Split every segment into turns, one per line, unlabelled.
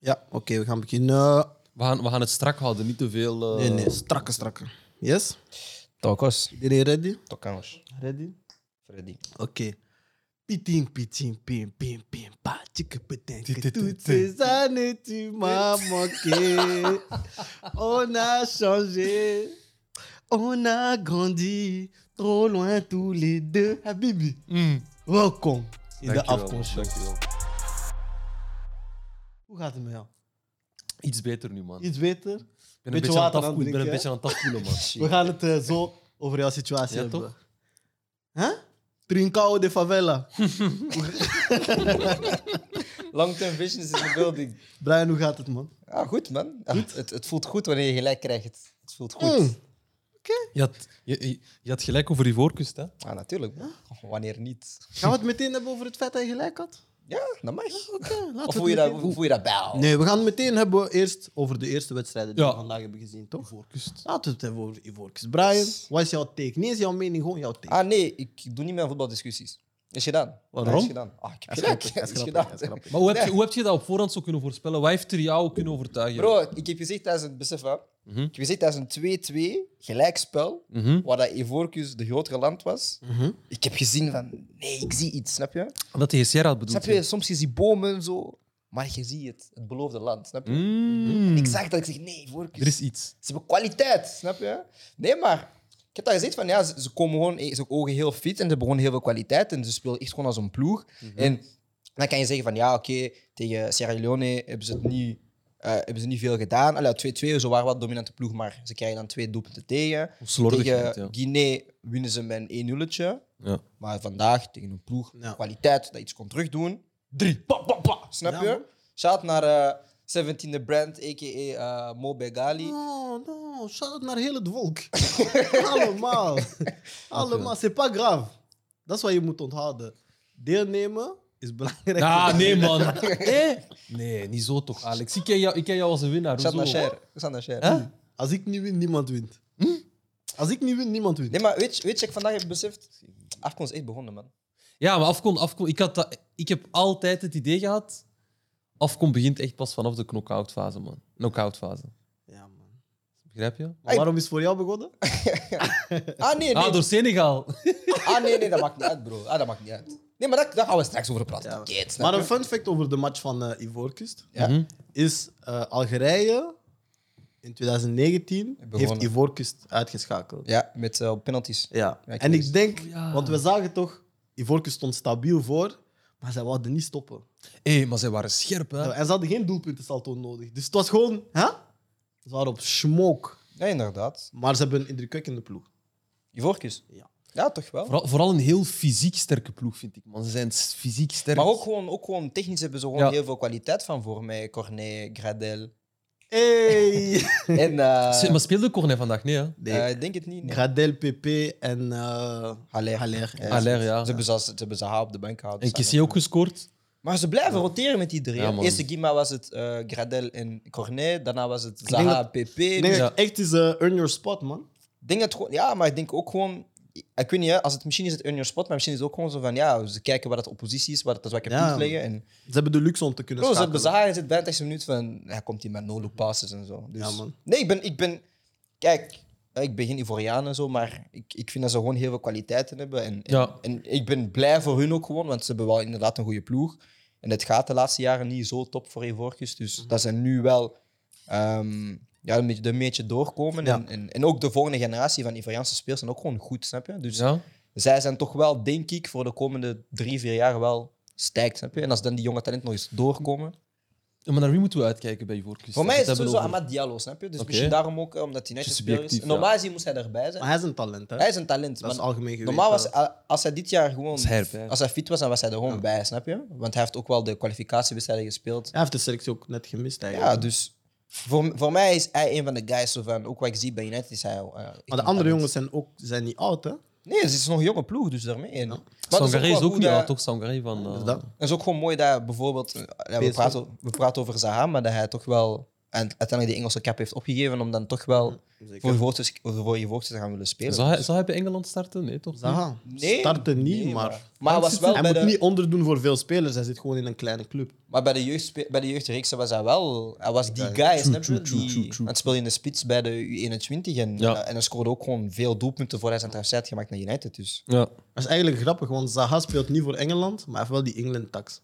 Ja, oké, we gaan beginnen.
We gaan, we gaan het strak houden, niet te veel. eh,
Nee, nee, strakke, strakke. Yes?
Tocos.
Iedereen ready?
Tocamos.
Ready?
Freddy.
Oké. Pitin, pitin, pim, pim, pim, pa, tjikke, petenke, toetse, zane, tu m'as manqué. On a changé, on a grandi, trop loin tous les deux. Habibi, welkom in de
dankjewel,
afkomst.
dankjewel.
Hoe gaat het met jou?
Iets beter nu, man. Ik
Iets beter?
ben
beetje
een beetje aan het
water aan
afkoelen, ik ben een
drinken,
beetje aan het afkoelen,
We
man.
gaan het eh, zo over jouw situatie
Ja,
hebben.
toch?
Huh? Trincao de favela.
Long-term vision is in the building.
Brian, hoe gaat het, man?
Ja, goed, man. Ja, Het, het voelt goed wanneer je gelijk krijgt. Het voelt goed.
Mm.
Je had, je, je- je had gelijk over die voorkust, hè?
Ah, natuurlijk. man. Oh, Wanneer niet.
Gaan we het meteen hebben over het feit dat je gelijk had?
Ja, dat mag.
Oké, laten
Of
we
voel je
het
dat,
meteen-
hoe voel je dat bij?
Nee, we gaan het meteen hebben eerst over de eerste wedstrijden die
Ja.
we vandaag hebben gezien, toch?
Voorkust.
Laten we het hebben over Ivorcus. Brian, wat is jouw take? Niet eens jouw mening, gewoon jouw take.
Ah, nee. Ik doe niet meer aan voetbaldiscussies. Is gedaan.
Waarom?
Is gedaan. Ah, ik heb gelijk. Is gedaan.
Maar hoe heb, je,
Nee.
hoe heb je dat op voorhand zo kunnen voorspellen? Wat heeft er jou kunnen overtuigen?
Bro, ik heb gezegd tijdens het besef, hè.
Mhm.
Ik heb gezegd tijdens een 2-2 gelijkspel,
Mhm.
waar dat Ivorcus de grotere land was.
Mhm.
Ik heb gezien van, nee, ik zie iets, snap je?
Dat de Sierra had bedoeld.
Snap je? Soms je ziet bomen zo, maar je ziet het, het beloofde land. Snap je?
Mm.
Ik zag dat ik zeg, nee, voorkeur.
Er is iets.
Ze hebben kwaliteit, snap je? Nee, maar ik heb dat gezegd van ja, ze, ze komen gewoon, eh, ze ogen heel fit en ze hebben gewoon heel veel kwaliteit en ze spelen echt gewoon als een ploeg. En dan kan je zeggen van ja, oké, tegen Sierra Leone hebben ze het niet. eh, hebben ze niet veel gedaan. Allee, 2-2, ze waren wat dominante ploeg, maar ze krijgen dan twee doelpunten tegen.
Slordigheid,
tegen
ja.
Guinea winnen ze met een 1-0.
ja.
Maar vandaag tegen een ploeg
Ja.
kwaliteit dat iets kon terugdoen. Drie. Pa, pa, pa. Snap
Ja, man.
je? Shout naar eh 17e Brand, a.k.a. eh, Mo Begali.
Oh, no, shout out naar heel het volk. Allemaal. Allemaal, c'est pas grave. Dat is wat je moet onthouden. Deelnemen is belangrijk.
Ah, nee, man. Eh? Nee, niet zo toch, Alex. Ik ken jou, ik ken jou als een winnaar.
Shout naar
hoezo?
Cher. Hm. Shout naar Cher.
Hè?
Als ik niet win, niemand wint. Als ik niet win, niemand wint.
Nee, maar weet je, weet je, ik vandaag heb beseft... Afkon is echt begonnen, man.
Ja, maar afkom, afkom. Ik, had dat, ik heb altijd het idee gehad. Afkom begint echt pas vanaf de knock-out fase, man. Knock-out fase.
Ja, man.
Begrijp je?
Maar Ah, waarom is het voor jou begonnen?
Ah, nee, nee.
dus-
Ah, door Senegal.
Ah, nee, nee, dat maakt niet uit, bro. Ah, dat maakt niet uit. Nee, maar daar, daar gaan we straks over praten.
Ja.
Kids, snap
Maar
je?
een fun fact over de match van eh Ivoorkust
Ja.
Mhm.
is eh, Algerije in 2019 heeft
gewonnen.
Ivoorkust uitgeschakeld. Ja.
Ja, met eh, penalties. Ja, ik
en ik
wist.
denk,
Ja.
want we zagen toch, Ivoorkust stond stabiel voor, maar zij wilden niet stoppen. Eh,
Hé, maar zij waren scherp, hè?
En ze hadden geen doelpuntensalto nodig. Dus het was gewoon, hè? Ze waren op smoke,
Ja, inderdaad.
maar ze hebben een indrukwekkende ploeg.
Ivorcus.
Ja.
Ja, toch wel.
Vooral, vooral een heel fysiek sterke ploeg, vind ik, man. Ze zijn s- fysiek sterk.
Maar ook gewoon, ook gewoon technisch hebben ze gewoon
Ja.
heel veel kwaliteit van voor mij. Cornet, Gradel.
Hey!
En, eh,
Ze- maar speelde Cornet vandaag? Nee, hè?
Nee,
eh, ik denk het niet. Nee.
Gradel, PP en eh
Haller.
Haller.
Ja.
Haller,
Ze
ja.
hebben zelfs- ze hebben ze haar op de bank gehouden.
En Kessie ook gescoord.
Maar ze blijven roteren met die drie.
Ja,
hè.
man.
Eerste Gima was het eh, Gradel en Cornet. Daarna was het
denk
Zaha, PP.
Ik
Dus
denk dat het echt is eh, earn your spot, man.
ik denk het gewoon, ja, maar ik denk ook gewoon... Ik weet niet, hè, als het, misschien is het in your spot, maar misschien is het ook gewoon zo van... Ja, ze kijken waar dat oppositie is, waar dat zwakke
Ja.
punten liggen. En,
Ze hebben de luxe om te kunnen
bro, ze hebben
schakelen.
Zaha in zit bij 30 minuut van... Hij komt hier met no-look passes en zo. Dus,
Ja, man.
Nee, ik ben... Ik ben kijk, hè, ik ben geen Ivoriaan en zo, maar ik, ik vind dat ze gewoon heel veel kwaliteiten hebben. En, en-
Ja.
en, ik ben blij voor hun ook gewoon, want ze hebben wel inderdaad een goede ploeg. En het gaat de laatste jaren niet zo top voor Ivorcus. Dus
Mhm.
dat ze nu wel ehm, ja, een, beetje, een beetje doorkomen.
Ja.
En, en, en ook de volgende generatie van Ivoriaanse spelers zijn ook gewoon goed, snap je? Dus
Ja.
zij zijn toch wel, denk ik, voor de komende drie, vier jaar wel sterk, snap je? En als dan die jonge talenten nog eens doorkomen...
Maar naar wie moeten we uitkijken bij Ivorcus?
Voor mij is
We
het
hebben
sowieso
over-
Amad Diallo, snap je? Dus
Oké.
misschien daarom ook, eh, omdat hij net
Het
een
is
speler is.
subjectief,
Normaal gezien moest hij erbij zijn.
Maar hij is een talent, hè?
Hij is een talent.
Ah, dat is
maar
algemeen geweten.
normaal was, a- als hij dit jaar gewoon...
Is hij erbij?
Als hij fit was, dan was hij er gewoon bij, snap je? Want hij heeft ook wel de kwalificatiewedstrijden gespeeld.
Hij heeft de selectie ook net gemist, eigenlijk.
Ja, dus... Voor, voor mij is hij een van de guys zo van... Ook wat ik zie bij United is hij... eh, echt een
maar de
talent.
andere jongens zijn ook zijn niet oud, hè?
Nee, het is nog een jonge ploeg, dus daarmee. En, maar dat
Sangaré is
wel
ook
goed
niet
dat-
oud, toch? Sangaré van... eh,
Dus dat-
Het is ook gewoon mooi dat bijvoorbeeld... eh, ja, we,
PSV.
praten, we praten over Zaha, maar dat hij toch wel En uiteindelijk de Engelse cap heeft opgegeven om dan toch wel voor, Voortes- voor je voorste te gaan willen spelen. Dus
Zou hij, zou hij bij Engeland starten? Nee, toch? niet?
Zaha,
Nee,
starten niet,
nee,
maar...
Maar hij was wel
hij
bij
moet
de-
niet onderdoen voor veel spelers. Hij zit gewoon in een kleine club.
Maar bij de, jeugdspe- bij de jeugdreeks was hij wel... Hij was die guy, snap je? Die- want hij speelde in de spits bij de U21 en, eh,
Ja.
en hij scoorde ook gewoon veel doelpunten voor hij zijn transfer had gemaakt naar United. Dus
Ja.
Dat is eigenlijk grappig, want Zaha speelt niet voor Engeland, maar hij heeft wel die England-tax.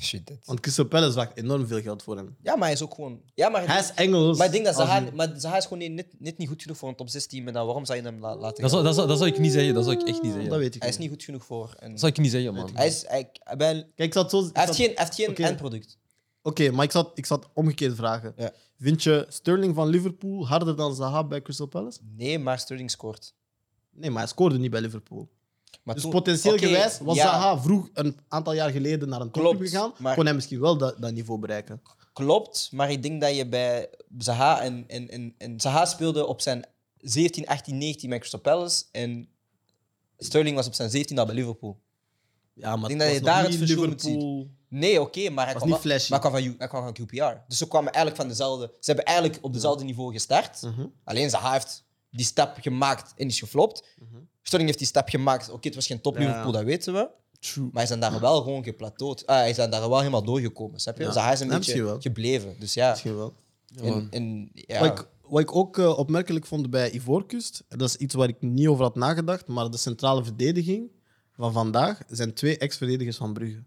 shit. dat-
Want Crystal Palace vraagt enorm veel geld voor hem.
Ja, maar hij is ook gewoon... Ja, maar,
Hij is Engels.
maar ik denk dat
als
Zaha,
een-
maar Zaha is gewoon niet- net, net niet goed genoeg voor een top 6 team. En dan waarom zou je hem la- laten
Dat,
gaan?
zou, dat, zou, dat zou ik niet zeggen. Dat zou ik echt niet zeggen.
Dat weet ik
Hij is niet goed genoeg voor... Een...
Dat zou ik niet zeggen, man.
Hij, is, hij, hij bij- hij
Kijk, ik zat zo... ik
heeft
zat-
geen, hij heeft geen
Oké.
eindproduct.
Oké, maar ik zat, ik zat omgekeerd vragen.
Ja.
Vind je Sterling van Liverpool harder dan Zaha bij Crystal Palace?
Nee, maar Sterling scoort.
Nee, maar hij scoorde niet bij Liverpool.
Maar
Dus
toen-
potentieel
Oké,
gewijs was
ja,
Zaha vroeg een aantal jaar geleden naar een topclub
Klopt,
gegaan.
maar-
Kon hij misschien wel dat, dat niveau bereiken.
Klopt, maar ik denk dat je bij Zaha en, en, en, en Zaha speelde op zijn 17, 18, 19 met Crystal Palace en Sterling was op zijn 17 al bij Liverpool.
Ja, maar
Ik denk dat
was
je
nog
daar
niet
het verschil moet Nee, oké, maar hij
Was
kwam,
niet
wel-
flashy.
maar hij kwam, van, U- hij kwam van QPR. Dus ze kwamen eigenlijk van dezelfde. Ze hebben eigenlijk op dezelfde niveau gestart.
Mhm.
Alleen Zaha heeft die stap gemaakt en is geflopt.
Mhm.
Sterling heeft die stap gemaakt. Oké, het was geen top
Ja.
Liverpool, dat weten we.
True.
Maar hij is dan daar wel gewoon geplateaud. Ah, hij is dan daar wel helemaal doorgekomen. Snap je?
Ja.
Zaha is een
Ja, misschien
beetje
wel.
gebleven. Dus ja.
Misschien wel.
En, en, ja.
Wat, ik, wat ik ook eh, opmerkelijk vond bij Ivoorkust, dat is iets waar ik niet over had nagedacht, maar de centrale verdediging van vandaag zijn twee ex-verdedigers van Brugge.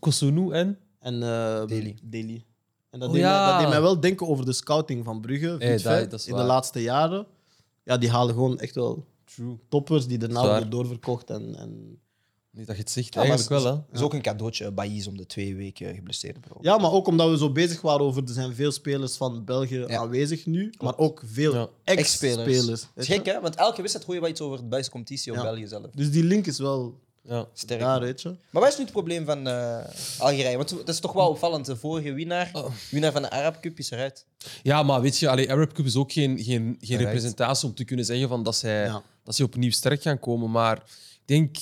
Kosunu en...
En eh
Deli.
Deli. En dat,
Oh
deed mij,
ja.
dat deed mij wel denken over de scouting van Brugge
Hey,
Vindt
dat-
Vijf,
dat is
in de
waar.
laatste jaren. Ja, die halen gewoon echt wel
True.
toppers die daarna
Zwaar.
worden doorverkocht. En, en...
Niet dat je het zegt,
Ja, maar
eigenlijk
het
wel, hè.
Het is ook een cadeautje, eh, Bailly's, om de twee weken geblesseerd bro.
Ja, maar ook omdat we zo bezig waren over er zijn veel spelers van België
Ja.
aanwezig nu, maar ook veel
Ja.
ex-spelers.
Ex-spelers.
weet
Het is
je?
gek, hè? Want elke wedstrijd hoor je wel iets over de Belgische competitie of
Ja.
België zelf.
Dus die link is wel
Ja.
Sterk.
daar, weet je.
Maar wat is nu het probleem van eh, Algerije? Want dat is toch wel opvallend. De vorige winnaar,
Oh.
winnaar van de Arab Cup, is eruit.
ja, maar weet je, allee, Arab Cup is ook geen, geen, geen
Right.
representatie om te kunnen zeggen van dat, zij,
Ja.
dat zij opnieuw sterk gaan komen. Maar ik denk,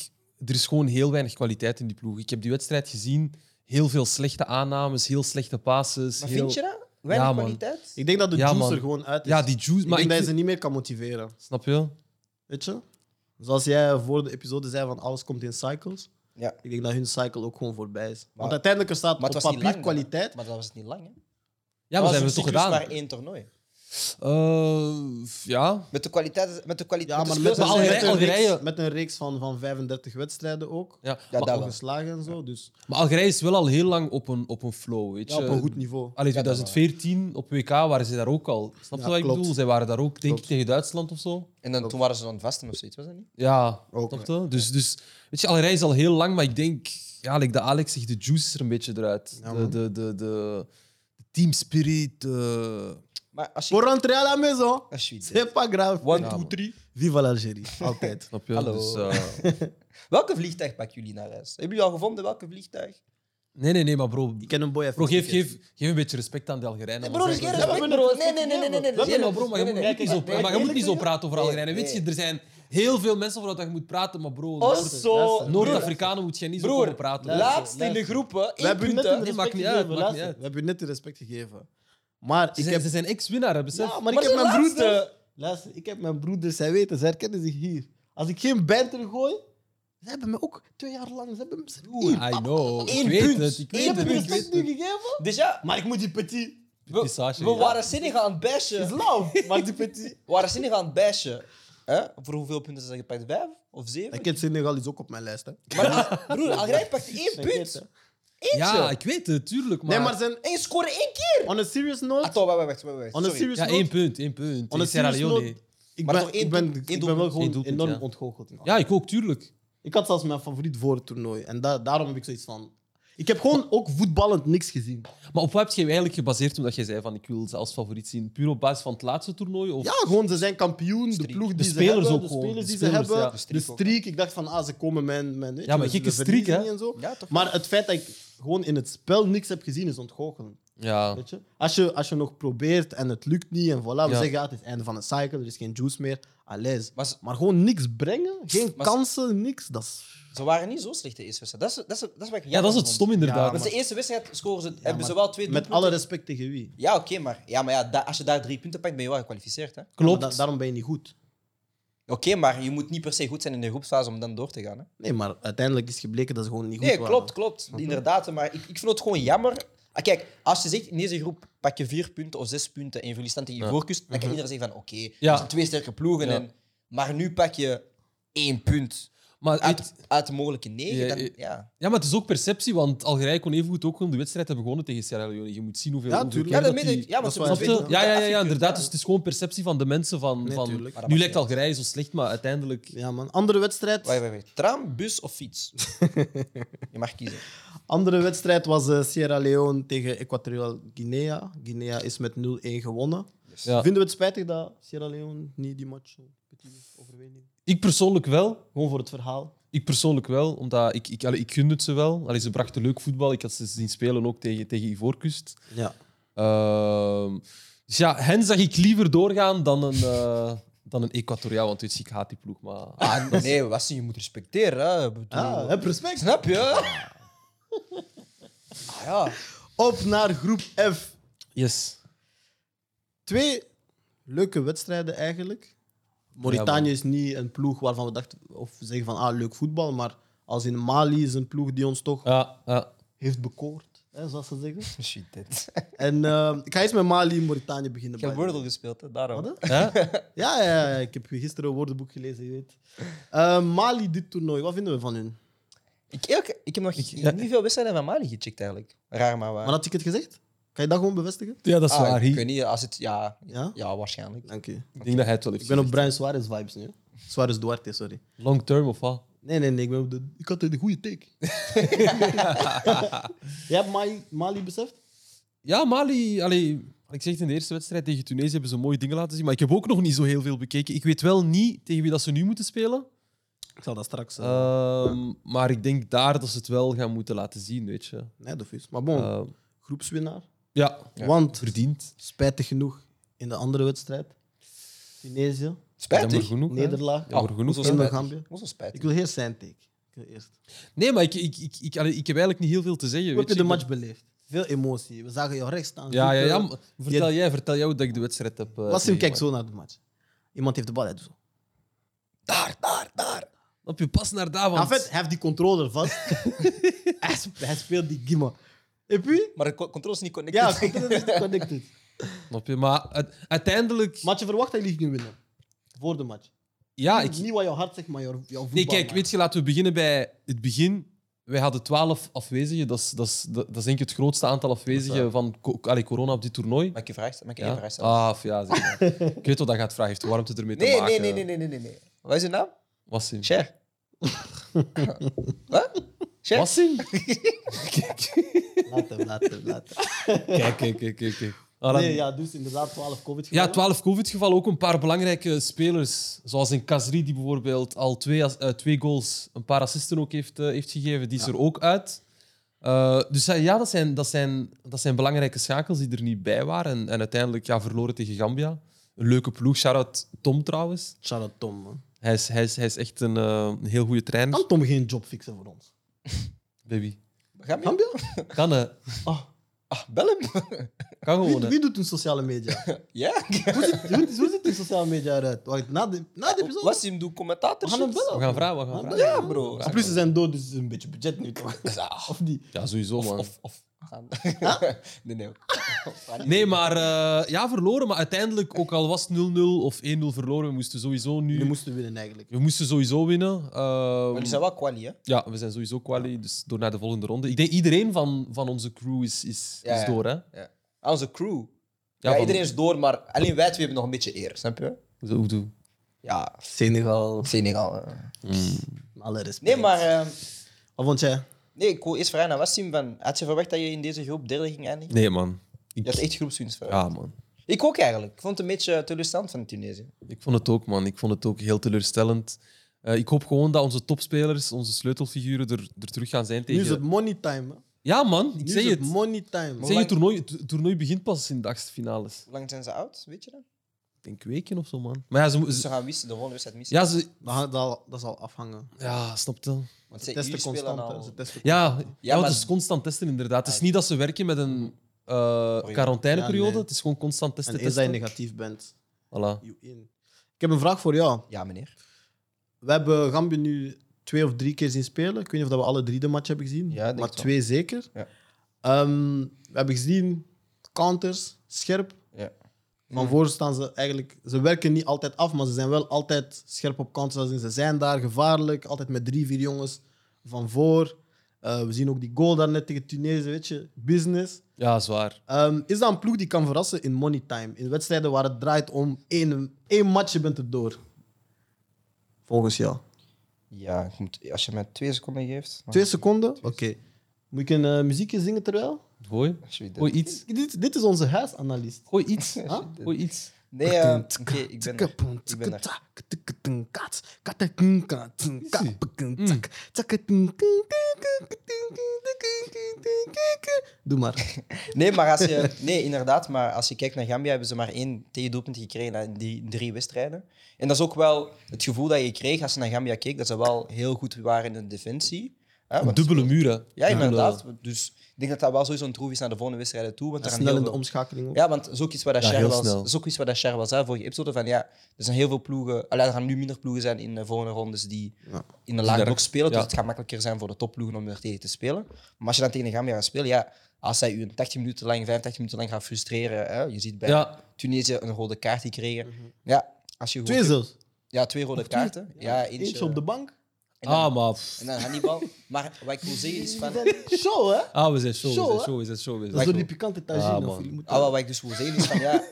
er is gewoon heel weinig kwaliteit in die ploeg. Ik heb die wedstrijd gezien, heel veel slechte aannames, heel slechte passes.
Maar
heel-
vind je dat? Weinig
Ja, man.
kwaliteit?
Ik denk dat de
Ja,
juice
man.
er gewoon uit is.
Ja, die juice.
ik
maar
denk dat
ik
je ze niet meer kan motiveren.
Snap je?
Weet je? Zoals jij voor de episode zei van alles komt in cycles.
Ja.
Ik denk dat hun cycle ook gewoon voorbij is.
Maar-
Want uiteindelijk er staat
Maar het
op
was niet
papier
lang.
kwaliteit.
Maar dat was het niet lang, hè?
Ja,
dat
maar
was
zijn we
een
het toch
cyclus
gedaan?
maar één toernooi.
Eh, f- ja.
Met de kwaliteit... Met de kwaliteit
Ja, maar
de
met,
spelers-
Maar
met,
Algerije-
een reeks,
Algerije-
met een reeks van, van 35 wedstrijden ook.
ja.
Ja,
maar,
dat wel.
Ongeslagen en zo. Dus
maar Algerije is wel al heel lang op een, op een Ah, flow, weet
ja,
je.
op een goed niveau.
Allee,
Ja, dat wel.
2014 op WK waren ze daar ook al. Snap je
Ja,
wat ik
klopt.
bedoel? Zij waren daar ook, denk
Klopt.
ik, tegen Duitsland of zo.
En dan, toen waren ze aan het vasten of zoiets, was dat niet?
Ja,
Ook,
snap je? Dus, dus, weet je, Algerije is al heel lang, maar ik denk, ja, like de Alex zegt, de juice is er een beetje eruit.
Ja,
de,
man.
de, de, de, de team spirit. de-
Maar als je...
Voor rentrer à la maison,
Alsjeblieft.
c'est pas grave.
One,
Ja,
two,
man.
three.
Viva l'Algérie, altijd.
Snap je?
Hallo.
Dus, eh,
Welke vliegtuig pakken jullie naar huis? Hebben jullie al gevonden welke vliegtuig?
nee, nee, nee, maar bro,
Ik ken een boy even.
bro geef, geef, geef een beetje respect aan de Algerijnen.
Nee,
man.
broer, is
Zij-
geen
Ja,
respect,
maar-
broer. Nee, nee, nee, nee, nee. nee,
Dat
Nee,
nee,
maar bro, maar je
nee,
moet,
nee,
niet
nee,
zo,
nee,
maar je moet
nee,
niet zo
nee.
praten over
Nee,
Algerijnen. Weet je,
nee.
er zijn heel veel mensen over dat je moet praten, maar bro,
is-
Osso,
luister.
broer,
Noord-Afrikanen moet je niet zo
broer,
over praten.
luister.
laatst in de groepen,
We
één
hebben u net
punten.
een
Nee,
respect
maakt niet uit,
gegeven.
maakt niet
luister.
uit.
We hebben u net een respect gegeven. Maar
Ze
ik
zijn,
heb...
ze zijn ex-winnaar, hè, besef.
Ja, maar ik
Maar
heb
ze
mijn
laatste-
broeder... Luister, ik heb mijn broeders, zij weten, zij herkennen zich hier. Als ik geen banter gooi, ze hebben me ook twee jaar lang, ze hebben me ze hebben hier.
I know.
Eén
ik weet
punt.
het, ik
Eén
Ik
weet
heb
het.
je
Ik
respect
weet
nu
het.
gegeven,
Dus ja,
maar ik moet die petit.
Die
we,
Sage,
we
ja.
waren Senegal aan het
Is
bashen.
love, maar die petit.
We waren Senegal aan het bashen. Hè? Voor hoeveel punten zijn ze gepakt? Vijf of zeven?
Ik ken Senegal is ook op mijn lijst. Hè.
Maar broer, Algerije pakte één
Denk het,
punt.
hè.
Eentje.
Ja, ik weet het, tuurlijk. Maar...
Nee, maar zijn...
En je scoorde één keer.
On a serious note...
Atto, wacht, wacht, wacht. wacht.
on a
Sorry.
serious
Ja,
note...
één punt, één punt.
On a
Tegen Sierra
serious
Leone.
Ik
Maar
ben,
toch één
ik ben,
doelpunt, één
ik ben wel gewoon
Eén doelpunt,
enorm
ja.
ontgoocheld. in
Ja, ik ook, tuurlijk.
Ik had zelfs mijn favoriet voor het toernooi. En da daarom heb ik zoiets van... Ik heb gewoon ook voetballend niks gezien.
Maar op wat heb je je eigenlijk gebaseerd omdat jij zei van ik wil ze als favoriet zien? Puur op basis van het laatste toernooi? Of...
Ja, gewoon, ze zijn kampioen. De
Streak.
ploeg die
De
ze
spelers
hebben,
ook
de
gewoon.
spelers die
De spelers,
ze hebben,
ja.
de
streak
streak.
ook.
Ik dacht van, ah, ze komen mijn... mijn weet je,
Ja, maar
we-
gekke
we
streak,
verliezen
hè?
niet En zo.
Ja, toch?
Maar het feit dat ik gewoon in het spel niks heb gezien, is ontgoochelen.
Ah.
Ja.
Weet je? Als, je, als je nog probeert en het lukt niet en voilà, we
Ja.
zeggen ja, het is het einde van een cycle, er is geen juice meer. à l'aise.
Maar ze,
Maar gewoon niks brengen, geen
Maar ze-
kansen, niks. Dat is...
ze waren niet zo slecht, de eerste wedstrijd. Dat is, dat is, dat is wat ik
Ja, dat is het stom inderdaad.
Want
maar-
de eerste wedstrijd scoren ze, hebben
maar
ze wel twee
Met alle
doelpunten.
respect tegen wie? Ja,
Ja, oké, maar, ja, maar ja, da- als je daar drie punten pakt, ben je wel gekwalificeerd. hè. Oké,
maar
Klopt.
da- daarom ben je niet goed.
maar je moet niet per se goed zijn in de groepsfase om dan door te gaan. Hè?
Nee, maar uiteindelijk is gebleken dat ze gewoon niet goed
Nee,
waren.
klopt, klopt. Inderdaad, maar ik, ik vind het gewoon jammer. Ah, kijk, als je zegt in deze groep pak je vier punten of zes punten en je verliest dan tegen je
Ja. Mhm.
voorkust, dan kan iedereen zeggen van oké,
Ja.
er zijn twee sterke ploegen.
Ja.
En, maar nu pak je één punt
Maar het,
uit, uit de mogelijke negen.
Ja,
Dan,
ja.
ja.
ja, maar het is ook perceptie, want Algerije kon even goed ook gewoon de wedstrijd hebben gewonnen tegen Sierra Leone. Je moet zien hoeveel...
Ja,
hoeveel
tuurlijk.
Ja, dat
keer
meen ik.
die-
Ja,
dat
want ze
is
Snap
waar.
hebben
je?
twee
Ja, ja, ja, ja,
punten
inderdaad. Dus
afgekeurd,
het is gewoon perceptie van de mensen. Van,
Nee,
van,
tuurlijk.
Maar dat
nu lijkt
maakt niet uit.
Algerije zo slecht, maar uiteindelijk...
Ja, man. Andere wedstrijd.
Wacht, wacht, wacht. Tram, bus of fiets? je mag kiezen.
Andere wedstrijd was eh, Sierra Leone tegen Equatorial Guinea. Guinea is met 0-1 gewonnen.
Ja.
Vinden we het spijtig dat Sierra Leone niet die match zo petit overwinning?
Ik persoonlijk wel.
Gewoon voor het verhaal.
Ik persoonlijk wel, omdat ik, ik, allee, ik gun het ze wel. Allee, ze brachten leuk voetbal. Ik had ze zien spelen ook tegen, tegen Ivoorkust.
Ja.
Ehm, dus ja, hen zag ik liever doorgaan dan een, eh dan een Equatoriaal, want weet je, ik haat die ploeg. Maar...
Ah, nee, wat je moet respecteren. Hè. Ik bedoel-
Ah, heb respect.
Snap je? ah, ja.
Op naar groep F.
Yes.
Twee leuke wedstrijden eigenlijk. Mauritanië is niet een ploeg waarvan we dachten of we zeggen van ah, leuk voetbal, maar als in Mali is een ploeg die ons toch
Ja, ja.
heeft bekoord, hè, zoals ze zeggen.
Shit, dit.
En ehm, ik ga eens met Mali en Mauritanië beginnen.
Ik heb
by the way.
Wordle gespeeld, hè, daarom.
Wat, hè?
Hè?
Ja, ja, ja, ik heb gisteren een woordenboek gelezen, je weet. Eh, Mali, dit toernooi, wat vinden we van hun?
Ik, ik, ik heb nog
ja.
niet veel wedstrijden van Mali gecheckt, eigenlijk. Raar, maar waar.
Maar had ik het gezegd? Kan je dat gewoon bevestigen?
ja, dat is
Ah,
waar.
ik
Hier.
weet niet, als het... Ja,
Ja?
ja waarschijnlijk.
Dank je.
Ik denk dat hij het wel heeft.
Ik ben op Brian Suarez vibes nu. Suarez Duarte, sorry.
Long term of wat?
Nee, nee, nee, ik, ben op de, ik had de goede take. Jij hebt Mali, Mali beseft?
Ja, Mali. Allee, ik zeg het in de eerste wedstrijd tegen Tunesië hebben ze mooie dingen laten zien. Maar ik heb ook nog niet zo heel veel bekeken. Ik weet wel niet tegen wie dat ze nu moeten spelen.
Ik zal dat straks. eh,
Ehm, maar ik denk daar dat ze het wel gaan moeten laten zien, weet je.
nee, dat is. Maar bon,
Ehm,
groepswinnaar.
ja,
Ja.
Want,
verdiend.
spijtig genoeg, in de andere wedstrijd, Tunesië,
Jammer
Spijtig.
genoeg. hè.
nederlaag.
Jammer genoeg.
Hoezo
in
spijtig?
Gambia.
Hoezo
Ik
spijtig?
wil eerst zijn take. Ik wil eerst.
Nee, maar ik, ik, ik, ik, allee, ik heb eigenlijk niet heel veel te zeggen.
Hoe
weet
heb je
je.
de
Ik
match beleefd? Veel emotie. We zagen jou rechts staan.
ben- Ja, ja, ja.
zoeken.
maar Vertel jij, vertel jou dat ik de wedstrijd heb. eh,
Wassim kijkt
meegemaakt.
zo naar de match. Iemand heeft de bal uit. Zo.
Daar, daar, daar.
Op je pas naar daar,
En
want...
vet, hij heeft die controller vast. hij, sp- hij speelt die Gimma. En puis,
Maar de co- controle is niet connected.
ja, controller is niet connected.
Snap je? Maar uit- uiteindelijk...
Maar je verwacht dat jullie kunnen winnen. Voor de match.
ja, Ah, ik,
Niet- Niet wat jouw hart zegt, maar jouw, jouw voetbal.
Nee, kijk,
maar.
weet je, laten we beginnen bij het begin. Wij hadden 12 afwezigen. Dat is, dat, is, dat dat is denk ik het grootste aantal afwezigen van co- allee, corona op dit toernooi.
Mag ik je vraag stellen? Mag ik je
Ja?
een vraag stellen?
Ah, f- ja, zeg maar. Ik weet wat dat gaat vragen. Heeft warmte ermee te
nee,
maken?
nee, nee, nee, nee, nee, nee, nee. Wat is je naam?
Wassim.
Cher. Wat? Cher?
Wassim?
Laat hem, laat hem, laat hem.
Kijk, kijk, kijk, kijk. kijk. Ah, dan-
Nee, ja, dus inderdaad 12 COVID
Ja,
gevallen.
12 COVID-gevallen. Ook een paar belangrijke spelers. Zoals een Kazri, die bijvoorbeeld al twee, as- eh, twee goals, een paar assisten ook heeft, eh, heeft gegeven. Die is er ook uit. Eh, dus eh, ja, dat zijn, dat, zijn, dat zijn belangrijke schakels die er niet bij waren. En, en uiteindelijk ja, verloren tegen Gambia. Een leuke ploeg. Shout-out Tom trouwens.
Shout-out Tom, man.
Hij is, hij is, hij is echt een, eh, een heel goede trainer.
Kan Tom geen job fixen voor ons?
Baby.
Gaan we?
Gambia?
Kan, eh,
Ah,
Ah, bel hem.
kan
wie,
gewoon. hè.
wie doet hun sociale media?
Ja?
hoe, ziet, hoe, hoe ziet hun sociale media eruit? Wacht, na de, na de episode?
Was hem doe
We
commentator?
gaan hem bellen.
We gaan vragen, we gaan vragen.
Ja, bro.
En plus, ze zijn dood, dus het is een beetje budget nu. toch? Of niet?
Ja, sowieso,
Of,
man.
of, of. Gaan. Nee, nee.
Nee, maar eh, ja, verloren. Maar uiteindelijk, ook al was het 0-0 of 1-0 verloren, we moesten sowieso nu...
Jullie moesten winnen eigenlijk.
We moesten sowieso winnen. Ehm,
Maar die zijn wel kwalie, hè?
Ja, we zijn sowieso quali, dus door naar de volgende ronde. Ik denk iedereen van, van onze crew is, is,
Ja,
is
ja.
door, hè? Ja,
Aan onze crew. Ja,
van-
iedereen is door, maar alleen wij twee hebben nog een beetje eer, snap je?
Zo, hoe doe?
Ja,
Senegal.
Senegal. eh.
Alle respect.
Nee, maar... eh,
Wat vond jij?
nee, ik wil eerst vragen aan Wassim van... Had je verwacht dat je in deze groep derde ging eindigen?
Nee, man. Ik,
Je had echt groepswinst
ja,
verwacht.
man.
Ik ook eigenlijk. Ik vond het een beetje teleurstellend van Tunesië.
Ik vond het ook, man. Ik vond het ook heel teleurstellend. Eh, ik hoop gewoon dat onze topspelers, onze sleutelfiguren, er, er terug gaan zijn
Nu
tegen...
is het money time. Hè?
Ja, man. Ik
Nu
zeg
is
het.
money time.
Ik zeg, het toernooi, het toernooi begint pas in de achtste finales.
Hoe lang zijn ze oud, weet je dat?
denk weken of zo, man. Maar ja, ze, mo-
Dus ze
ze-
gaan wisten, de volgende wedstrijd missen.
ja, ze,
Dat, dat, dat zal afhangen.
ja, snap je?
Want
Ze
zij-
testen
jullie spelen
constant. hè.
al-
Ze testen
Ja, ja, want
maar-
het is constant testen inderdaad. Het is niet dat ze werken met een eh, quarantaineperiode.
Ja, nee.
Het is gewoon constant testen.
En eens dat je
testen.
negatief bent,
Voilà.
you in. Ik heb een vraag voor jou.
Ja, meneer.
We hebben Gambia nu twee of drie keer zien spelen. Ik weet niet of dat we alle drie de match hebben gezien,
Ja, ik denk
maar
het wel.
twee zeker.
Ja.
Ehm, we hebben gezien counters, scherp.
Ja. Hmm.
Van voor staan ze eigenlijk... Ze werken niet altijd af, maar ze zijn wel altijd scherp op counters. Als in, Ze zijn daar, gevaarlijk. Altijd met drie, vier jongens van voor. Eh, we zien ook die goal daarnet tegen Tunesië, weet je. Business.
Ja, zwaar.
Ehm, is dat een ploeg die kan verrassen in money time? In wedstrijden waar het draait om één, één match, je bent erdoor. Volgens jou.
Ja, ik moet, als je mij twee seconden geeft. dan-
Twee seconden? Oké. Moet ik een eh, muziekje zingen terwijl?
Gooi.
Alsjeblieft.
Gooi iets.
Dit, dit is onze huisanalist.
Gooi iets.
Huh?
Gooi iets.
Nee, eh, oké, ik ben er. Ik ben er.
Mm. Doe maar.
Nee, maar als je, nee, inderdaad, maar als je kijkt naar Gambia, hebben ze maar één tegendoelpunt gekregen in die drie wedstrijden. En dat is ook wel het gevoel dat je kreeg als je naar Gambia keek, dat ze wel heel goed waren in de defensie. Hè,
Een
want-
dubbele muren.
Ja, inderdaad. Dus ik denk dat dat wel sowieso een troef is naar de volgende wedstrijden toe. Want er gaan
Snel
heel
in de
veel-
omschakeling. ook.
Ja, want dat is ook iets waar dat
Ja,
Cher
heel
was,
snel.
dat is ook iets waar dat Cher was hè, vorige episode. Van, ja, er zijn heel veel ploegen, allee, er gaan nu minder ploegen zijn in de volgende rondes die
Ja.
in de laag
daar-
blok spelen. Dus
ja.
het gaat makkelijker zijn voor de topploegen om er tegen te spelen. Maar als je dan tegen de Gambia gaat spelen, ja, als zij u een 80 minuten lang, 85 minuten lang gaat frustreren. Hè, je ziet bij
Ja.
Tunesië een rode kaart die kregen. Ja, als je
Mhm. Twee
gewoon-
zelfs.
ja, twee rode kaarten. Ja, eentje, eh.
Eentje op de bank.
En dan,
Ah, maar... pff.
en dan Hannibal. Maar wat ik wil zeggen is van...
Show, hè?
Ah, we zijn show,
Show,
we zijn
hè?
show, we zijn show. We
Dat is
zijn
door
show.
die pikante
Ah,
tagine.
man.
of jullie moeten-
Ah, wel, wat ik dus wil zeggen is van ja,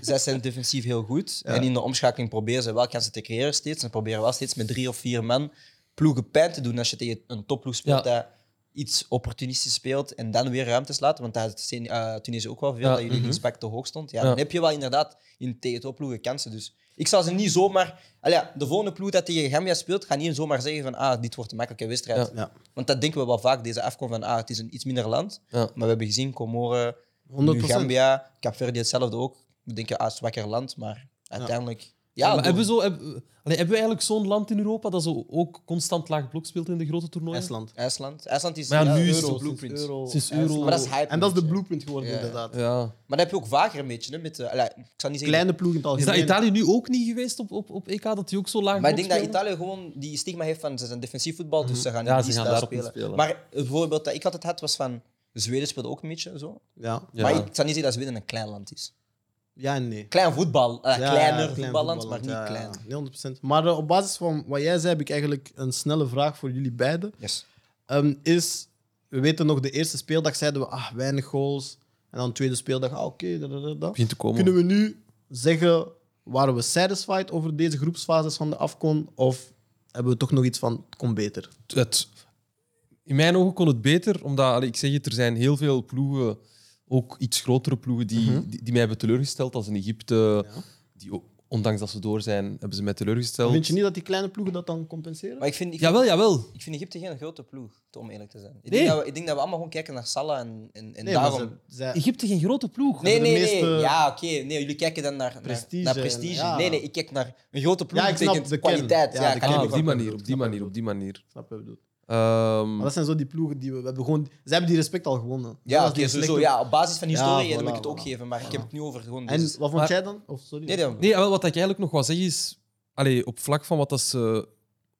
zij zijn defensief heel goed. En in de omschakeling proberen ze wel kansen te creëren steeds. En proberen wel steeds met drie of vier man ploegen pijn te doen als je tegen een topploeg speelt
Ja.
dat iets opportunistisch speelt en dan weer ruimtes laat. Want daar had uh, Tunesië ook wel veel,
Ja. Mhm.
dat jullie linksback te hoog stond. Ja,
Ja.
Dan heb je wel inderdaad in tegen topploegen kansen. Dus ik zal ze niet zomaar... Allee, ja, de volgende ploeg dat tegen Gambia speelt, ga niet zomaar zeggen van ah, dit wordt een makkelijke wedstrijd.
Ja.
Ja,
Want dat denken we wel vaak, deze afkom van ah, het is een iets minder land.
Ja.
Maar we hebben gezien Comoren,
100%.
nu Gambia, Capverdi hetzelfde ook. We denken ah, zwakker land, maar uiteindelijk. Ja,
Ja, maar
door-
hebben, we zo, heb- allee, hebben we eigenlijk zo'n land in Europa dat zo ook constant laag blok speelt in de grote toernooien?
IJsland.
IJsland. IJsland is dus
Maar ja, nu is
euro,
het
blueprint.
Sinds
IJsland.
euro.
Maar dat is hype.
En dat is de
een beetje.
blueprint geworden,
Ja.
inderdaad.
Ja.
Maar dat heb je ook vaker een beetje. Hè, met, eh, allee, ik zal niet zeggen.
Kleine ploeg in het
Is dat
algemeen.
Italië nu ook niet geweest op, op, op EK, dat die ook zo laag
Maar ik
blok
denk dat
spelen?
Italië gewoon die stigma heeft van ze zijn defensief voetbal, dus ze gaan
Mhm. Ja,
niet
ze
die
gaan
stijl
daarop
spelen.
niet spelen.
Maar het voorbeeld dat ik altijd had was van Zweden speelde ook een beetje zo.
Ja.
Ja.
Maar ik zal niet zeggen dat Zweden een klein land is.
ja en nee.
Klein voetbal, eh,
Ja,
kleiner
klein
voetballand, maar niet
voetballand, ja,
klein.
ja. Nee, 100%. Maar eh, op basis van wat jij zei, heb ik eigenlijk een snelle vraag voor jullie beiden.
Yes.
Ehm, is, we weten nog, de eerste speeldag zeiden we, ah, weinig goals. En dan de tweede speeldag, ah, oké. da, da, da, da.
begint te komen.
Kunnen we nu zeggen, waren we satisfied over deze groepsfases van de AFCON? Of hebben we toch nog iets van, het komt beter?
het, in mijn ogen kon het beter, omdat allee, ik zeg het, er zijn heel veel ploegen, ook iets grotere ploegen, die,
Mhm.
die, die mij hebben teleurgesteld. Als in Egypte, die, o- ondanks dat ze door zijn, hebben ze mij teleurgesteld.
Vind je niet dat die kleine ploegen dat dan compenseren?
Maar ik vind, ik vind-
Jawel, jawel.
Ik vind Egypte geen grote ploeg, om eerlijk te zijn. Ik,
Nee.
denk, dat we, ik denk dat we allemaal gewoon kijken naar Salah en, en, en
Nee, maar
daarom...
ze- zij-
Egypte geen grote ploeg.
Nee,
hebben
nee,
de
nee.
meeste-
Ja, oké. Nee, jullie kijken dan naar prestige.
Prestige
Naar,
en-
prestige.
ja.
Nee, nee, ik kijk naar een grote ploeg.
Ja, ik snap
betekent
de kern.
kwaliteit.
Ja,
Ja,
de
kan
kern.
Ah,
ik
op
ook
die
wel-
manier, op die manier, op die manier.
Snap je wat ik bedoel?
Ehm,
Maar dat zijn zo die ploegen die we, we hebben gewoon... Zij hebben die respect al gewonnen.
ja,
Dat
oké,
is die
sowieso.
slechte-
ja, op basis van historie
Ja,
dan wil
voilà,
ik het ook
voilà.
geven, maar ik heb het nu over gewoon...
En
deze-
wat vond
Maar-
jij dan? Of sorry.
Dus- nee, dan,
nee, jawel, wat ik eigenlijk nog wil zeggen is... Allee, op vlak van wat dat ze...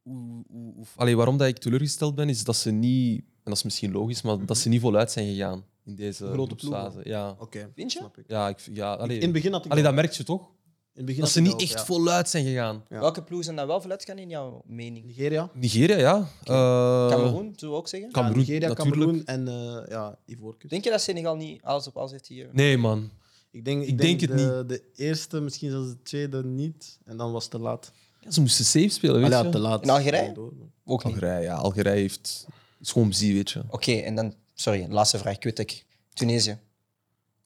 hoe- hoe- hoe- allee, waarom dat ik teleurgesteld ben, is dat ze niet... En dat is misschien logisch, maar dat ze niet voluit zijn gegaan in deze
Mhm. Grote
groepsfase. Ja,
Oké,
Vind je?
snap ik.
ja, ik, ja allee.
In het begin had ik
Allee, dat merk je toch?
in het begin
Dat
had
ze
ik
niet
ook,
echt
ja.
voluit zijn gegaan.
Ja.
Welke ploegen zijn daar wel vooruit gaan in jouw mening?
Nigeria.
Nigeria, ja. Eh,
Cameroen, zullen we ook zeggen?
ja,
Cameroen,
Nigeria,
natuurlijk.
Cameroen en eh ja, Ivoorkust.
Denk je dat Senegal niet alles op alles heeft hier?
Nee, man.
Ik denk,
Ik denk het
de, De eerste, misschien zelfs de tweede niet. En dan was het te laat.
Ja, ze moesten safe spelen, weet
Allee,
je.
te laat.
In Algerije?
Door.
Ook niet.
Algerije, ja. Algerije heeft... is gewoon zie, weet je.
Oké, en dan... Sorry, laatste vraag. Ik weet dat ik... Tunesië.
Ook
Zijn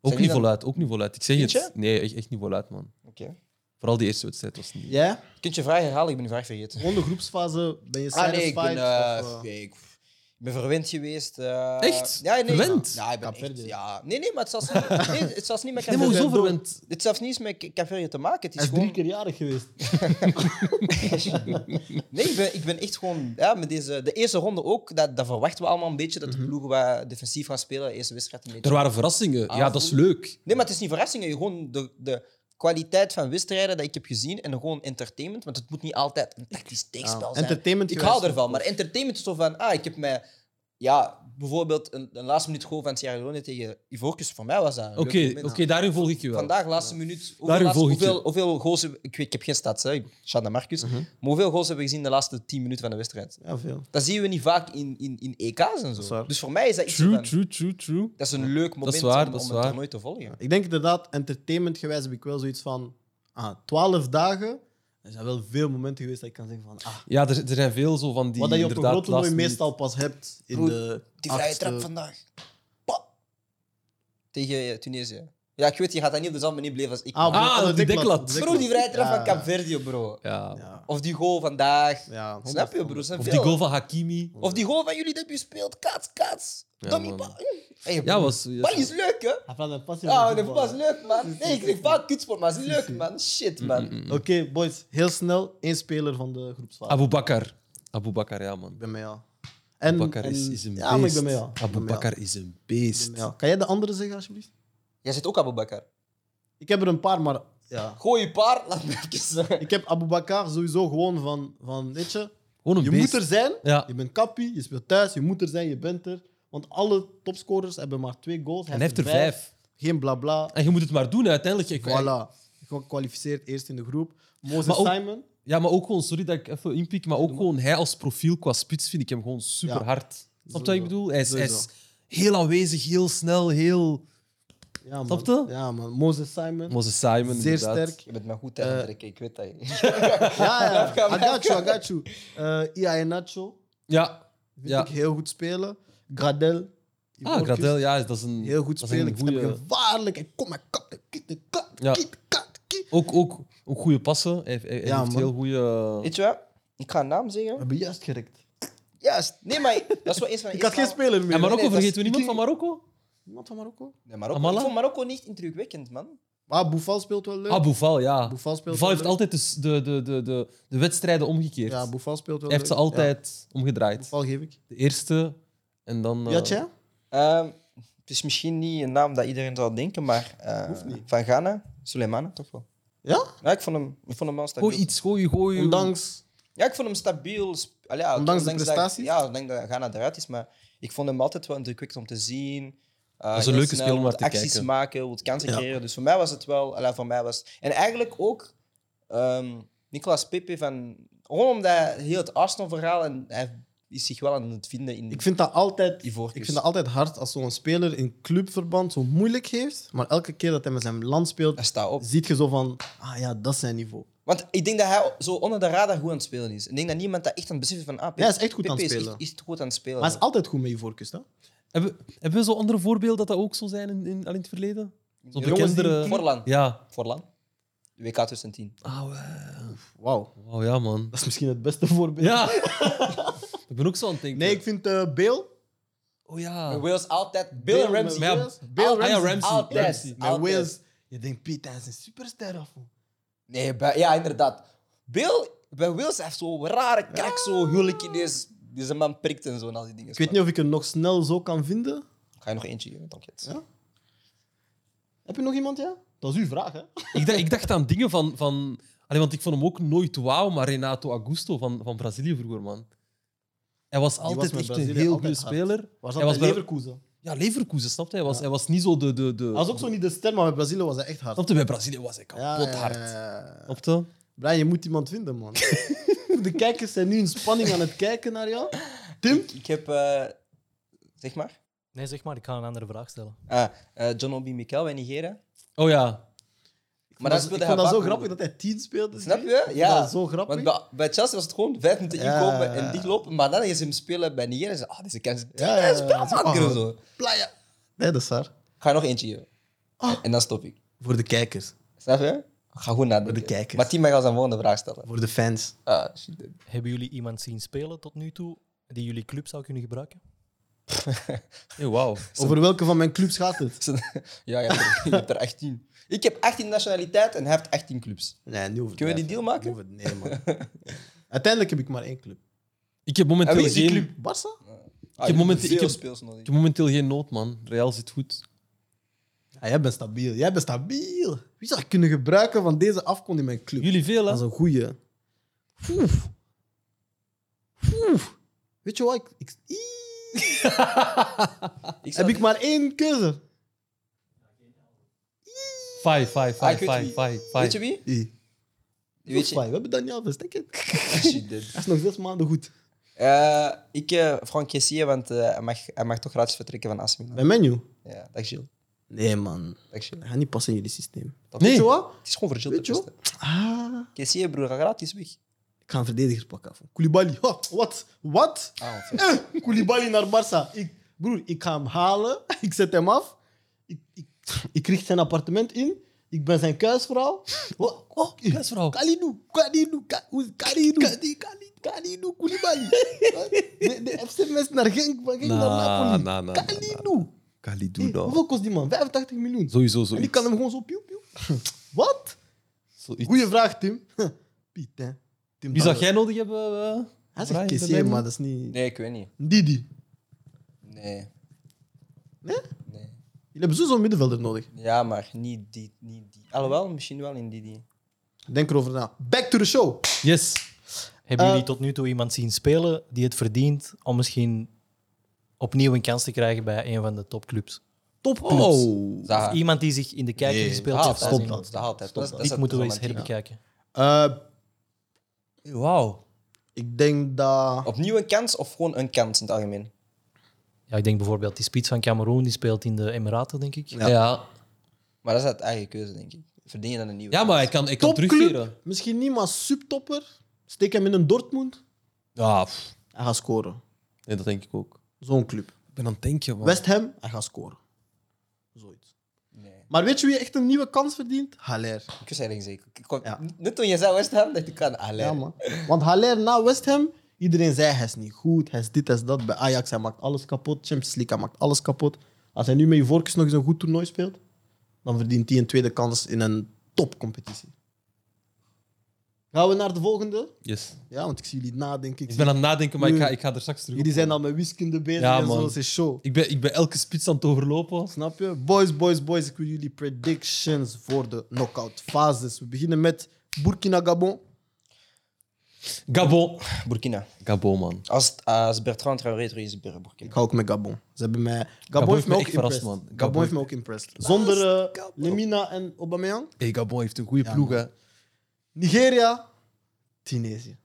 niet
die dan-
voluit, ook niet voluit. Ik zeg
Vind
het. Nee, echt, echt niet voluit, man.
Oké.
Vooral die eerste wedstrijd was niet...
Jij?
Kunt je vraag herhalen? Ik ben de vraag vergeten.
Gewoon de groepsfase. Ben je
Ah nee,
satisfied?
ik ben... eh,
of, eh,
nee, ik, Ik ben verwend geweest. eh,
Echt?
Ja, nee.
Verwend?
Ja, ik ben echt-
Capverde.
ja. Nee, nee, maar het zelfs niet, nee, het zelfs niet met
Nee, maar hoezo
Capverde-
verwend?
Het zelfs niet eens met Caverje te maken. Het
Hij
is
is drie
gewoon...
keer jarig geweest.
Nee, ik ben, ik ben echt gewoon... Ja, met deze, de eerste ronde ook, dat, dat verwachten we allemaal een beetje, dat de
Mhm.
ploegen wat defensief gaan spelen. De eerste wedstrijd een beetje.
Er waren verrassingen. ja, dat is leuk.
Nee, maar het is niet verrassing. hè. Gewoon de, de kwaliteit van wedstrijden dat ik heb gezien en gewoon entertainment. Want het moet niet altijd een tactisch tegenspel zijn.
Ah, Entertainment
ik
geweest.
hou ervan, maar entertainment is zo van... Ah, ik heb mij... Ja, bijvoorbeeld een, een laatste minuut goal van Sierra Leone tegen Ivorcus. Voor mij was dat een
Oké,
leuk moment.
oké, daarin volg ik je wel.
Vandaag, laatste minuut. Hoeveel,
Daarin
laatste,
volg ik je. Mhm.
hoeveel, hoeveel goals... heb- Ik, weet, ik heb geen stats, hè. Shout naar Marcus. Maar hoeveel goals hebben we gezien de laatste 10 minuten van de wedstrijd?
Ja, veel.
Dat zien we niet vaak in, in, in EK's en
is
zo.
waar.
Dus voor mij is dat iets
True,
van-
true, true, true.
Dat is een leuk moment
waar,
om,
dat is
om een
waar.
toernooi te volgen.
Ik denk inderdaad, entertainment gewijs heb ik wel zoiets van... Ah, 12 dagen. Er zijn wel veel momenten geweest dat ik kan zeggen van... Ah,
Ja, er, er zijn veel zo van die.
wat dat je op een
inderdaad
groot toernooi
last
meestal pas hebt in
Broer,
de
Die vrije
achtste-
eh,
trap vandaag. Pa. Tegen eh, Tunesië. Ja, ik weet, je gaat dat niet op dezelfde manier beleven als ik.
op de-
Ah,
op de
op die
deklat,
deklat.
op de
bro, die vrije trap
Ja,
van Cap Verde, bro.
minuten. Ja.
Ja.
Of die goal vandaag.
Ja,
Snap je, bro?
broer?
Zijn
Of
veel.
die goal van Hakimi.
of die goal van jullie dat je speelt. Kaats, kaats.
Ja,
Dummy
man.
pa. Mm. Hey,
Ja, was.
Bal is leuk, hè?
Hij valt een passie
Ja,
op de
dat was
voetbal, hè.
leuk, man. Nee, ik kreeg vaak kutsport, maar het is leuk, man. Shit, man.
Oké, boys. Heel snel. één speler van de groepsfase.
Abu Bakar. Abu Bakar, ja, man.
Ik ben mee al.
Abu Bakar is, is een beest.
Ja, maar ik ben mee al. Ik
Abu
ben mee al.
Bakar is een
Ik
beest.
ben mee al. Kan jij de andere zeggen, alsjeblieft?
Jij zit ook Abu Bakar.
Ik heb er een paar, maar... Ja.
Gooi je paar, laat me even...
Ik heb Abu Bakar sowieso gewoon van... van weet je,
Gewoon een
je
beest.
moet er zijn.
Ja.
Je bent kappie, je speelt thuis, je moet er zijn, je bent er. Want alle topscorers hebben maar twee goals.
En hij heeft er vijf.
Geen blabla.
En je moet het maar doen uiteindelijk. Ik,
Voilà. Gekwalificeerd eerst in de groep. Moses
Maar ook-
Simon.
Ja, maar ook gewoon, sorry dat ik even inpiek, maar ook gewoon hij als profiel qua spits vind ik hem gewoon super hard. Snap je wat ik
Sowieso.
bedoel? Hij is, hij is
Sowieso.
heel aanwezig, heel snel, heel.
Ja, man.
Snap je?
Ja, man. Moses Simon.
Moses Simon.
Zeer
inderdaad.
sterk.
Je bent me goed
Eh,
aan het trekken, ik weet dat.
Ja,
Blijf
ja.
gaan,
I got you, I got you. Eh Ia Nacho.
Ja.
Vind
Ja.
ik heel goed spelen. Gradel.
Ah,
Ivorcus,
Gradel, ja, dat is een.
Heel goed
dat is
spelen.
een
Ik vind hem
goeie-
gevaarlijk. Ik kom maar kat, kiet, de kat,
Ja.
kiet, kat, kiet.
Ook, ook, ook goede passen. Hij, hij- hij
Ja,
heeft
man.
heel goede.
Weet je wat? Ik ga een naam
We
zeggen.
hebben juist gerekt.
Juist. Nee, maar dat is wel eens van de
Ik had geen
eerste
speler meer.
En Marokko,
nee, dat is-
vergeten we niemand van Marokko?
Iemand van Marokko?
Nee, Marokko.
Amala?
Ik vond Marokko niet indrukwekkend, man.
Ah, Boufal speelt wel leuk.
Ah, Boufal, ja.
Boufal speelt wel
Boufal heeft
leuk.
altijd de, de, de, de, de, de wedstrijden omgekeerd.
Ja, Boufal speelt wel
hij heeft ze
leuk.
altijd
Ja,
omgedraaid.
Boufal geef ik.
De eerste en dan. eh,
Ja, tja.
Ehm, het is misschien niet een naam dat iedereen zou denken, maar eh,
Hoeft niet.
van Ghana, Suleimana, toch wel.
Ja?
Ja, ik vond hem, ik vond hem wel stabiel.
Gooi iets, gooi, gooi.
Ondanks...
Ja, ik vond hem stabiel. sp- Allee, ja,
Ondanks de
dat-
prestaties?
ja, ik denk dat Ghana eruit is, maar ik vond hem altijd wel indrukwekkend om te zien. Eh,
Dat is een
heel
leuke
snel,
speler om naar
wil
te
acties
kijken.
maken, wil kansen
Ja.
creëren. Dus voor mij was het wel... allee, voor mij was, en eigenlijk ook ehm Nicolas Pepe van... Gewoon omdat heel het Arsenal-verhaal en hij is zich wel aan het vinden in
Ik vind dat altijd...
Ivoorkust.
Ik vind dat altijd hard als zo'n speler in clubverband zo moeilijk heeft. Maar elke keer dat hij met zijn land speelt,
Hij staat op.
ziet je zo van... Ah ja, dat is zijn niveau.
Want ik denk dat hij zo onder de radar goed aan het spelen is. Ik denk dat niemand dat echt aan het beseffen van... Ah, Pepe,
Ja, hij is echt goed
Pepe
aan het
is
spelen.
echt- Is, goed aan het spelen.
Maar hij is altijd goed met Ivoorkust, hè?
Hebben, hebben we zo andere voorbeelden dat dat ook zo zijn in, in, al in het verleden? Zo
Jongens die-
bekendere...
Forlan.
Ja.
Forlan. WK 2010.
Oh, eh,
Wauw.
oh, ja, man.
Dat is misschien het beste voorbeeld.
Ja. ik ben ook zo aan het denken.
Nee, ik vind eh Bale...
Oh ja.
En Wales altijd. Bill en Ramsey.
Met
Maar ja,
Wales.
Ah,
Bale
ah, ja,
Ramsey.
Ramsey.
Altijd.
Ramsey.
Met
Altijd.
Wales. Je denkt, Piet, hij is een superster of...
Nee, bij- ja, inderdaad. Bill, bij Wales hij heeft zo'n rare krak, zo huwelijk in deze, deze man prikt en zo en al die dingen.
Ah. Ik weet niet of ik er nog snel zo kan vinden.
Ga je nog eentje geven, dan kids.
Ja? Heb je nog iemand, ja? Dat is uw vraag, hè?
ik, dacht, ik dacht aan dingen van... van Allee, want ik vond hem ook nooit wauw, maar Renato Augusto van, van Brazilië vroeger, man. Hij was
was
altijd
met
echt een
Brazilië
heel goede
altijd hard.
speler.
Was
hij
dat
was
bij
bij-
Leverkusen?
Ja, Leverkusen, snap je? Hij was, hij was niet zo de... de, de...
Hij was ook zo niet de ster, maar bij Brazilië was hij echt hard.
Snap je? Bij Brazilië was hij kapot hard.
ja, ja, ja.
Snap je?
Brian, je moet iemand vinden, man. de kijkers zijn nu in spanning aan het kijken naar jou. Tim?
Ik, ik heb, eh, zeg maar,
Nee, zeg maar, ik ga een andere vraag stellen.
ah, eh, John Obi Mikel bij Nigeria.
Oh ja.
dat
Maar dat
ik
speelde
vond
hij
dat zo
vaak
grappig
goed.
dat hij 10 speelde.
Snap je?
Ik
Ja.
vond Dat zo grappig.
Want bij, bij Chelsea was het gewoon vijf minuten
Ja.
inkopen en dichtlopen. Maar dan is hem spelen bij Nigeria en ze ah, deze kans. Ja,
ja, ja.
spel maken en zo.
Playa. Nee, dat is waar.
Ga je nog eentje geven.
Ah.
En dan stop ik.
Voor de kijkers.
Snap je? Ga goed
Voor
nadenken.
de kijkers.
Maar Tima gaat zijn volgende vraag stellen.
Voor de fans.
Ah, shit.
Hebben jullie iemand zien spelen tot nu toe die jullie club zou kunnen gebruiken?
Hey, Wauw.
Over welke van mijn clubs gaat het?
Ja, je hebt, er, je hebt er 18. Ik heb 18 nationaliteiten en hij heeft 18 clubs. Ah,
Nee, nu hoeft
Kunnen we die deal maken?
Nee, man. Uiteindelijk heb ik maar één club.
Ik heb momenteel
En wie is die
geen...
club?
Barça?
Ah,
heb
je
momenteel-
veel
ik heb-
speels nodig.
Ik heb momenteel geen nood, man. Real zit goed.
Ja, jij bent stabiel. Jij bent stabiel. Wie zou ik kunnen gebruiken van deze afkomst in mijn club?
Jullie veel,
Dat is
hè?
een goeie. Oef. Oef. Weet je wat? Ik, ik- Ii.
Ik zou-
heb ik maar één keuze?
Five, five,
Ah,
five,
ik weet
five,
wie.
five,
Weet je
five.
wie?
I.
Weet je
We hebben Daniel Alves, denk ik.
Shit, dit.
Hij is nog zes maanden goed.
Eh, ik, eh Frank Kessier, want eh, hij, mag, hij mag toch gratis vertrekken van AC Milan.
Bij menu?
Ja, dag Gilles.
Nee, man.
Dag Gilles.
Dat gaat niet passen in jullie systeem.
Nee.
Weet je wat?
Het is gewoon voor Gilles
Weet
te
je wat?
pesten.
Ah,
Kessier, broer, ga gratis weg.
ik ga een verdediger pakken. Van Koulibaly. Ha, wat? Wat?
Ah,
Eh, Koulibaly naar Barça. Ik, broer, ik ga hem halen. Ik zet hem af. Ik, ik, ik richt zijn appartement in. Ik ben zijn kuisvrouw. Wat? Oh,
Kuisvrouw.
Kalidou. Kalidou. Ka- hoe- Kalidou. Kalidou. Kalidou Koulibaly. De, de FC Mes naar Genk. Van Genk naar
Na,
Napoli.
na, na.
Kalidou.
Kalidou,
Hey,
nou.
hoeveel kost die man? 85 miljoen.
Sowieso
en
zoiets.
ik kan hem gewoon zo pieuw, pieuw. Wat?
Zoiets.
Goeie vraag, Tim. Piet, hè. Tim
Wie zou
Bauer.
jij nodig hebben? eh?
Hij
Brian,
zegt
bij
Kessier,
mij?
maar dat is niet...
Nee, ik weet niet.
Didi.
Nee.
Nee?
Nee.
Jullie hebben zo'n middenvelder nodig.
Ja, maar niet die, niet die. Alhoewel, misschien wel in die. die.
Denk erover na. Back to the show.
Yes.
Hebben
Eh,
jullie tot nu toe iemand zien spelen die het verdient om misschien opnieuw een kans te krijgen bij een van de topclubs?
Topclubs.
Oh.
Zaha.
Of iemand die zich in de kijker
Nee,
gespeeld
Zaha
heeft.
altijd,
Stop
man.
dat.
Zaha altijd.
Stop
Dat is-
dat.
dat is
Dit moeten we eens
romantiek, ja.
herbekijken.
Eh,
eh? Wauw.
ik denk dat...
Opnieuw een kans of gewoon een kans in het algemeen?
Ja, ik denk bijvoorbeeld die spits van Cameroen, die speelt in de Emiraten, denk ik.
Ja.
Ja. Ja.
Maar dat is uit eigen keuze, denk ik. Verdien je dan een nieuwe?
maar ik kan, ik kan terugkeren.
Topclub. Misschien niet, maar subtopper. Steek hem in een Dortmund.
Ja, pff.
Hij gaat scoren.
nee, dat denk ik ook.
Zo'n club.
Ik ben aan het denken, man.
West Ham, hij gaat scoren. Zoiets.
Nee.
Maar weet je wie echt een nieuwe kans verdient? Haller.
Ik was eigenlijk zeker. Ik kon-
Ja.
Net toen je zei West Ham, dacht ik kan alleen.
Ja, man. Want Haller na West Ham, iedereen zei hij is niet goed, hij is dit, hij is dat. Bij Ajax, hij maakt alles kapot. Champions League, hij maakt alles kapot. Als hij nu met je voorkeurs nog eens een goed toernooi speelt, dan verdient hij een tweede kans in een topcompetitie. Gaan we naar de volgende?
Yes.
Ja, want ik zie jullie nadenken. Ik
Ik
zie-
ben aan het nadenken, maar ik ga,
Nee.
ik ga er straks terug
Jullie
op
zijn
komen.
al met wiskunde bezig
Ja,
en
man.
zo. Het is show.
Ik ben, ik ben elke spits aan het overlopen.
Snap je? Boys, boys, boys. Ik wil jullie predictions voor de knockout fases. We beginnen met Burkina Gabon.
Gabon.
Burkina.
Gabon, man.
Als, als Bertrand Traoré terug is, is Bur- Burkina.
Ik hou ook met Gabon. Ze hebben mij... Gabon,
Gabon
heeft mij ook
heeft me echt
impressed.
verrast, man.
Gabon,
Gabon
heeft mij ook impressed. Zonder eh, Lemina en Aubameyang.
Hey, Gabon heeft een goede
Ja,
ploeg,
man.
hè.
Nigeria, Tunesië.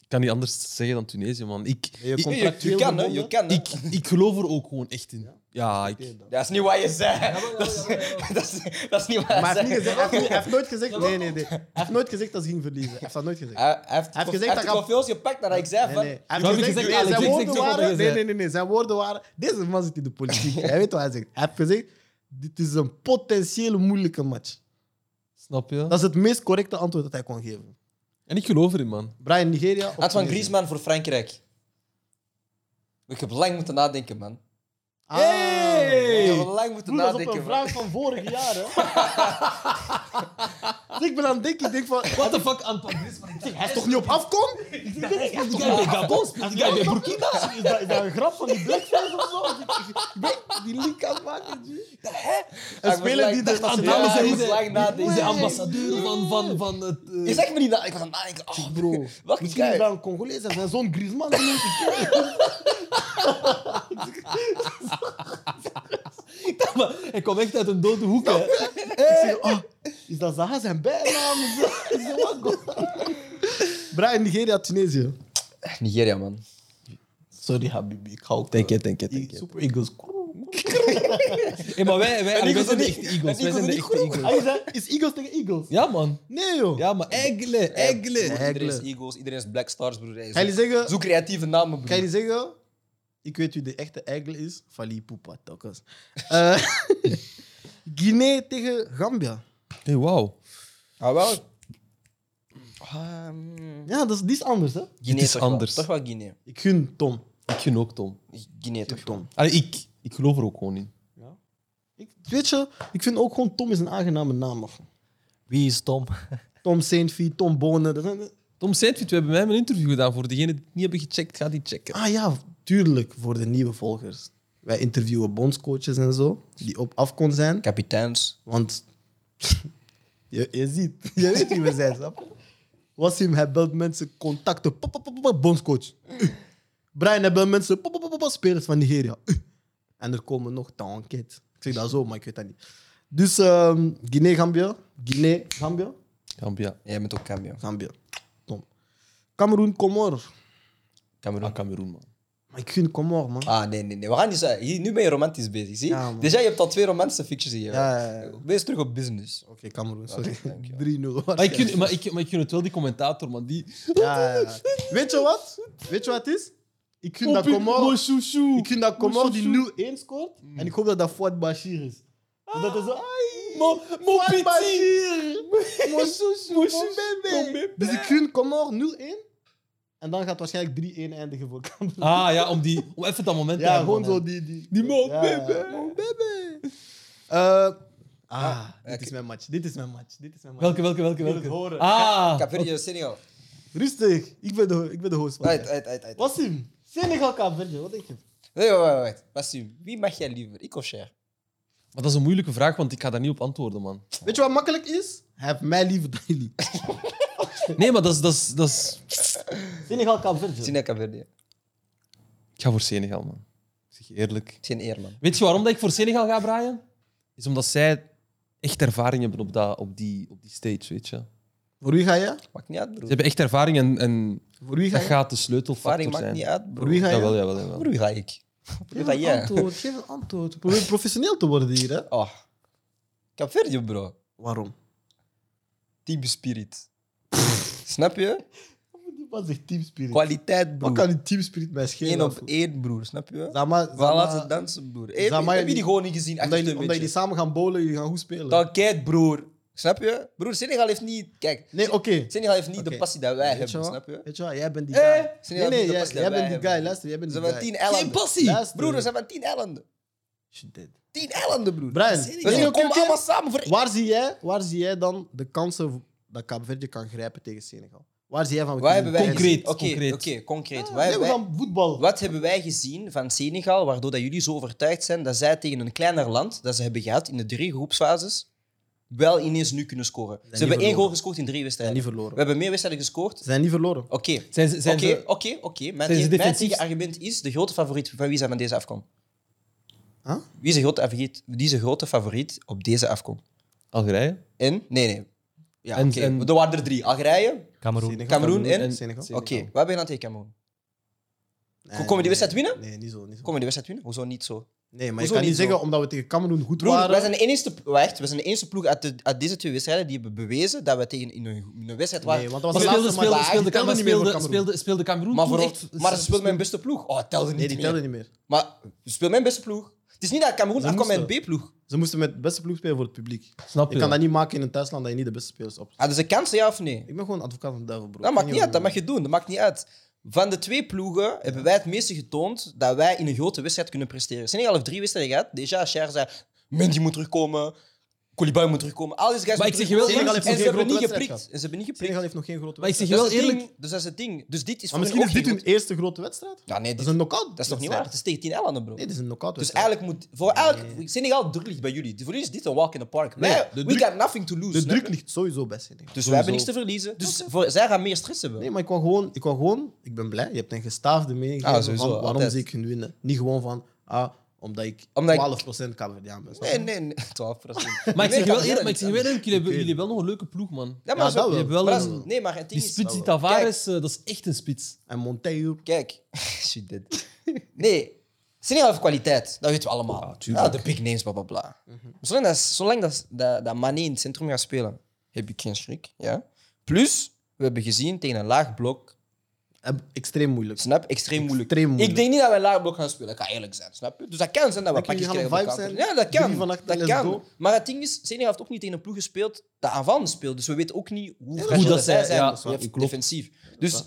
Ik kan niet anders zeggen dan Tunesië, man. Ik,
Je
ik,
Je,
contract-
ik,
je kan, hè? Je
verbonden.
kan, hè?
ik, ik geloof er ook gewoon echt in. Ja, ik...
Dat is niet wat je zei. Dat is- dat is- Dat is niet wat hij
Maar hij heeft, niet
zei.
gezegd, hij, heeft, niet- hij heeft nooit gezegd... Nee, nee, nee. Hij heeft nooit gezegd dat ze ging verliezen. Hij heeft dat nooit gezegd.
Hij hij heeft
gezegd
hij heeft
dat
de
Gab-
confiance gepakt nadat ik zei
Nee,
van...
nee. Hij
Dat
heeft
heb ik
gezegd,
gezegd,
nee,
Alex.
zijn
Ik zeg
woorden
toch wat
waren... Nee,
hij gezegd.
nee, nee, nee, zijn woorden waren... Deze man zit in de politiek. Hij weet wat hij zegt. Hij heeft gezegd, dit is een potentieel moeilijke match.
Snap je?
Dat is het meest correcte antwoord dat hij kon geven.
En ik geloof erin, man.
Brian, Nigeria of
Antoine
Tunesië?
Griezmann voor Frankrijk. Ik heb lang moeten nadenken, man.
Ah.
Ik heb lang moeten
Broer, dat is op
nadenken,
een
man.
vraag van vorig jaar, hè? dus ik ben aan het denken, ik denk van...
What the fuck, Antoine Griezmann?
Hij is toch niet op afkom? Ik denk, dit is
Die
toch-
guy bij Gabon speelt, die guy bij Burkina.
Is dat, is dat een grap van die blackface of zo? Ik ben die link aan het maken, G.
Dus
Een speler die de
aan
namen
dames
zijn
en
niet-
lang
Is de
nadenken.
ambassadeur van, van, van het... eh,
Je zegt me niet dat. Ik was aan het nadenken. Oh,
Bro,
Wat
misschien
guy.
is dat een Congolees en zijn zoon Griezmann. die noemt het.
maar hij kwam echt uit een dode hoek, hè.
Ik zeg, oh, is dat Zaha zijn bijnaam? Is dat- is dat wat God? Brian, Nigeria, Tunesië.
Nigeria, man.
Sorry, Habibi, ik hou ook...
Denk je, denk je, denk
Die
je.
Super Eagles.
Hey, maar wij, wij, wij
Eagles
zijn de
niet-
echte Eagles. Wij
en Eagles
zijn de
niet
echte
goed.
Eagles.
Hij zei, is Eagles tegen Eagles?
Ja, man.
Nee, joh.
Ja, maar Egle, Egle.
Iedereen is
Egle.
Eagles, iedereen is Black Stars, broer. Hij is-
Ga jullie zeggen...
Zo creatieve namen,
Kan je
broer.
die zeggen? Ik weet wie de echte eikel is. Fali Poepa, tokkos. Eh, Guinea tegen Gambia.
Hey, wauw.
Ah, wel. Ah, mm.
Ja, dat is, die is anders, hè?
Ehm, Guinea
is
toch wel.
anders.
Toch wel Guinea.
Ik gun Tom.
Ik gun ook Tom.
Guinea toch gewoon.
Allee, ik, ik geloof er ook gewoon in.
Ik, weet je, ik vind ook gewoon Tom is een aangename naam. of-
Wie is Tom?
Tom Saintfie, Tom Bonen. dat zijn-
Tom Seinfeld, we hebben met hem een interview gedaan. Voor degenen die het niet hebben gecheckt, ga die checken.
Ah ja, tuurlijk, voor de nieuwe volgers. Wij interviewen bondscoaches en zo, die op af kon zijn.
Kapiteins.
Want je, je ziet, je weet wie we zijn, snap je? Wassim, hij belt mensen contacten. Pop, pop, pop, pop, bondscoach. Uh. Brian, hij belt mensen. Pop, pop, pop, pop, spelers van Nigeria. Uh. En er komen nog de enquête. Ik zeg dat zo, maar ik weet dat niet. Dus ehm Guinea-Gambia. Guinea-Gambia.
Gambia.
Jij bent ook Cambio.
Gambia. Tom. Cameroen, Comor.
Ah,
Cameroen.
Cameroen, man.
Maar ik vind Comor, man.
Ah, nee, nee, nee. We gaan niet zo... Hier, nu ben je romantisch bezig, zie?
Ja, man.
dus jij hebt al twee romantische ficties hier.
Ja, ja, ja.
Wees terug op business.
Oké, Cameroen, sorry.
dank je.
3-0.
Maar ik, gun, maar, ik, maar ik gun het wel, die commentator, man. Die...
Ja, ja, ja. Weet je wat? Weet je wat het is? Ik vind dat Comor... Ik vind dat Hmm. Comor die 0-1 scoort. En ik hoop dat dat Fouad Bashir is. Dat is zo... "Ah, ai,
Mon, mon
Fouad
petit.
Bashir! Mon sousou,
Mon
mon
sousou, mon
bébé!
bébé.
Dus ik gun Comor 0-1. En dan gaat het waarschijnlijk 3-1 eindigen voor Cameroen.
Ah ja, om, die, om even dat moment
Ja,
hebben
gewoon
van
zo
hem.
die... Die,
Die mon
Ja, ja.
bébé.
Mon bébé! Eh, ah, dit
oké.
is mijn match. Dit is mijn match. Dit is mijn match.
Welke, welke, welke?
Ik wil het
welke?
horen.
Ah,
Capverde, Senegal.
Rustig. Ik ben de, ik ben de host. van
Uit,
het.
uit, uit, uit.
Wassim, Senegal Kaapverdië, wat denk je?
Nee, wacht, wacht, wacht. Basim, wie mag jij liever? Ik of Cher?
maar dat is een moeilijke vraag, want ik ga daar niet op antwoorden, man.
Weet je wat makkelijk is? Hij heeft mij liever dan jullie.
Nee, maar dat is... Dat is, dat is...
Senegal Kaapverdië.
Sina Capverde.
Ik ga voor Senegal, man. Ik zeg je eerlijk.
Geen eer, man.
Weet je waarom dat ik voor Senegal ga, Brian? Is omdat zij echt ervaring hebben op, dat, op, die, op die stage, weet je.
Voor wie ga je?
Maakt niet uit,
Ze
broer.
hebben echt ervaring en, en
Voor wie ga
dat
je?
gaat de sleutelfactor
Ervaring maakt
zijn.
niet uit,
Voor
broer.
wie ga je?
Jawel, jawel, jawel.
Broer, wie ga ik? Broer,
Geef
ga
een
jij?
antwoord, geef een antwoord. Probeer professioneel te worden hier, hè?
Oh. Capverde, bro.
Waarom?
Team spirit. Snap je?
Wat zegt Team Spirit?
Kwaliteit,
Wat
broer.
kan die Team Spirit mij schelen?
Eén op één, broer. Snap je?
Zama,
We laten ze dansen, broer. Hey,
Zama,
heb je
jullie-
die gewoon niet gezien?
omdat, jullie,
Achter
omdat jullie samen gaan bowlen, jullie gaan goed spelen.
Dan kijk, broer. Snap je? Broer, Senegal heeft niet... Kijk,
Nee, oké.
Senegal heeft niet
Oké.
de passie dat wij
Weet je
hebben,
wat?
snap je?
Weet je wat? Jij bent die
Eh,
guy.
Senegal
Nee,
heeft
nee,
niet de
jij,
passie
jij
dat
bent
wij
die guy.
hebben.
Luister, jij bent
Ze
die
hebben
guy.
tien eilanden.
passie!
Luister.
Broer, er zijn van tien eilanden.
Shit, dit.
Tien eilanden, broer.
Brian,
Dat is Senegal.
weet je
Ze
ook een
komen
keer-
allemaal samen voor...
Waar zie, jij, waar zie jij dan de kansen dat Kaapverdië kan grijpen tegen Senegal? Waar zie jij van?
Waar hebben wij
Concreet,
gezien? Oké,
concreet.
Oké, concreet. Waar
wij,
hebben wij-
van voetbal.
Wat hebben wij gezien van Senegal, waardoor dat jullie zo overtuigd zijn dat zij tegen een kleiner land dat ze hebben gehad in de drie groepsfases, wel ineens nu kunnen scoren? Ze
niet
hebben één
verloren.
goal gescoord in drie
Ze zijn
wedstrijden.
niet
We
verloren.
hebben meer wedstrijden gescoord.
Ze zijn niet verloren.
Oké,
Zijn ze, zijn
Oké,
ze-
oké, oké. Mijn
Zijn ze
tegen- Mijn
defensief?
tegenargument is de grote favoriet van wie zijn van deze afkom.
Huh?
Wie is de grote favoriet, wie is de grote favoriet op deze afkom?
Algerije?
En? Nee, nee. Ja,
En-
oké.
en-
Er waren er drie. Algerije.
Cameroen.
Senegal,
Cameroen en-
Senegal.
Oké, waar ben je dan tegen Cameroen? Komen die wedstrijd winnen?
Nee, niet zo. Niet zo.
Komen die wedstrijd winnen? Hoezo niet zo?
Nee, maar je
Hoezo
kan niet
niet zo?
zeggen omdat we tegen Cameroen goed
Broer, wij
waren.
zijn de enige, wacht, wij zijn de enige ploeg uit, de- uit deze twee wedstrijden die hebben bewezen dat we tegen in een, in een wedstrijd waren.
Nee, want dat
Maar
was de
speelde,
laatste
speelde,
match.
speelde,
Die
maar
telde niet meer voor
speelde,
Cameroen.
speelde, speelde Cameroen
maar,
toen
voor,
echt...
maar ze speelden mijn beste ploeg. Oh, het telde niet
Nee, die
meer.
telde niet meer.
Maar speel mijn beste ploeg. Het is niet dat Cameroen
Ze
afkwam met een
moesten.
B-ploeg.
Ze moesten met de beste ploeg spelen voor het publiek.
Snap je?
Je kan dat niet maken in een thuisland dat je niet de beste spelers op.
Hadden ze kansen, ja of nee?
Ik ben gewoon advocaat van de duivel, bro.
Dat
Ik
Nou, maakt
weet
niet uit, dat
waarom.
mag je doen. Dat maakt niet uit. Van de twee ploegen hebben wij het meeste getoond dat wij in een grote wedstrijd kunnen presteren. Senegal heeft drie wedstrijden gehad. Deja, Cher zei, Mendy moet terugkomen. Koulibaly moet terugkomen. Al deze guys
Maar ik
moeten
zeg je wel,
terugkomen.
Senegal
en ze
heeft nog geen
hebben niet
grote wedstrijd
geprikt.
gehad.
En ze hebben niet geprikt.
Senegal heeft nog geen grote
Maar ik zeg
wedstrijd.
je wel
Dat is het
eerlijk...
ding. Dus dat is het ding. Dus dit is
Maar
voor
misschien
hen
is
ook
dit hun
geen
eerste grote wedstrijd.
grote- Ja, nee,
Dat
dit-
is een knockout.
dat is toch niet waar? Het is tegen tien eilanden, bro.
Nee, dit is een knockout.
Dus
wedstrijd.
eigenlijk moet voor elk Senegal druk ligt bij jullie. Voor jullie is dit een walk in the park.
Nee,
Wij,
de
we
druk-
got nothing to lose.
de
snap
druk
je?
ligt sowieso bij Senegal.
Dus we hebben niks te verliezen. Dus voor, zij gaan meer stress hebben.
Nee, maar ik wou gewoon, ik wou gewoon, ik ben blij. Je hebt een gestaafde mening
Ah,
van
sowieso,
waarom
altijd.
zie ik hun winnen. Niet gewoon van, ah, omdat ik
Omdat ik-
12% Kamerdiaan ben. snap je?
Nee, nee, nee. 12
Maar ik zeg je wel eerlijk, maar ik zeg je wel eerlijk, jullie hebben, jullie hebben wel nog een leuke ploeg, man.
Ja,
Ja,
maar zo-
dat wel.
Je hebt wel
maar dat
een-
is- Nee, maar het
Die
ding is...
spits, die Tavares, eh, dat is echt een spits.
En Montaigne.
Kijk. Shit, dit. Nee. Senegal heeft kwaliteit. Dat weten we allemaal.
Ah,
ja,
tuurlijk. Mhm.
de big names, bla, bla, bla. Zolang, dat, zolang dat, dat, dat Mané in het centrum gaat spelen, heb ik geen schrik. Ja? Plus, we hebben gezien tegen een laag blok
Eh, Extreem moeilijk.
Snap? Extreem moeilijk.
Extreem moeilijk.
Ik denk niet dat wij laag blok gaan spelen. Ik ga eerlijk zijn, snap je? Dus dat kan zijn dat we
Dan kun je
pakjes krijgen.
gaan
op de
vibes
counter.
zijn.
Ja, dat kan.
Drie van achter,
dat
let's
kan.
go.
Maar het ding is, Senegal heeft ook niet tegen een ploeg gespeeld dat aanvallend speelt. Dus we weten ook niet hoe
dat
fragiel
is
dat zij
waar.
zijn
Ja, dat is waar.
def-
Klopt.
defensief. Dus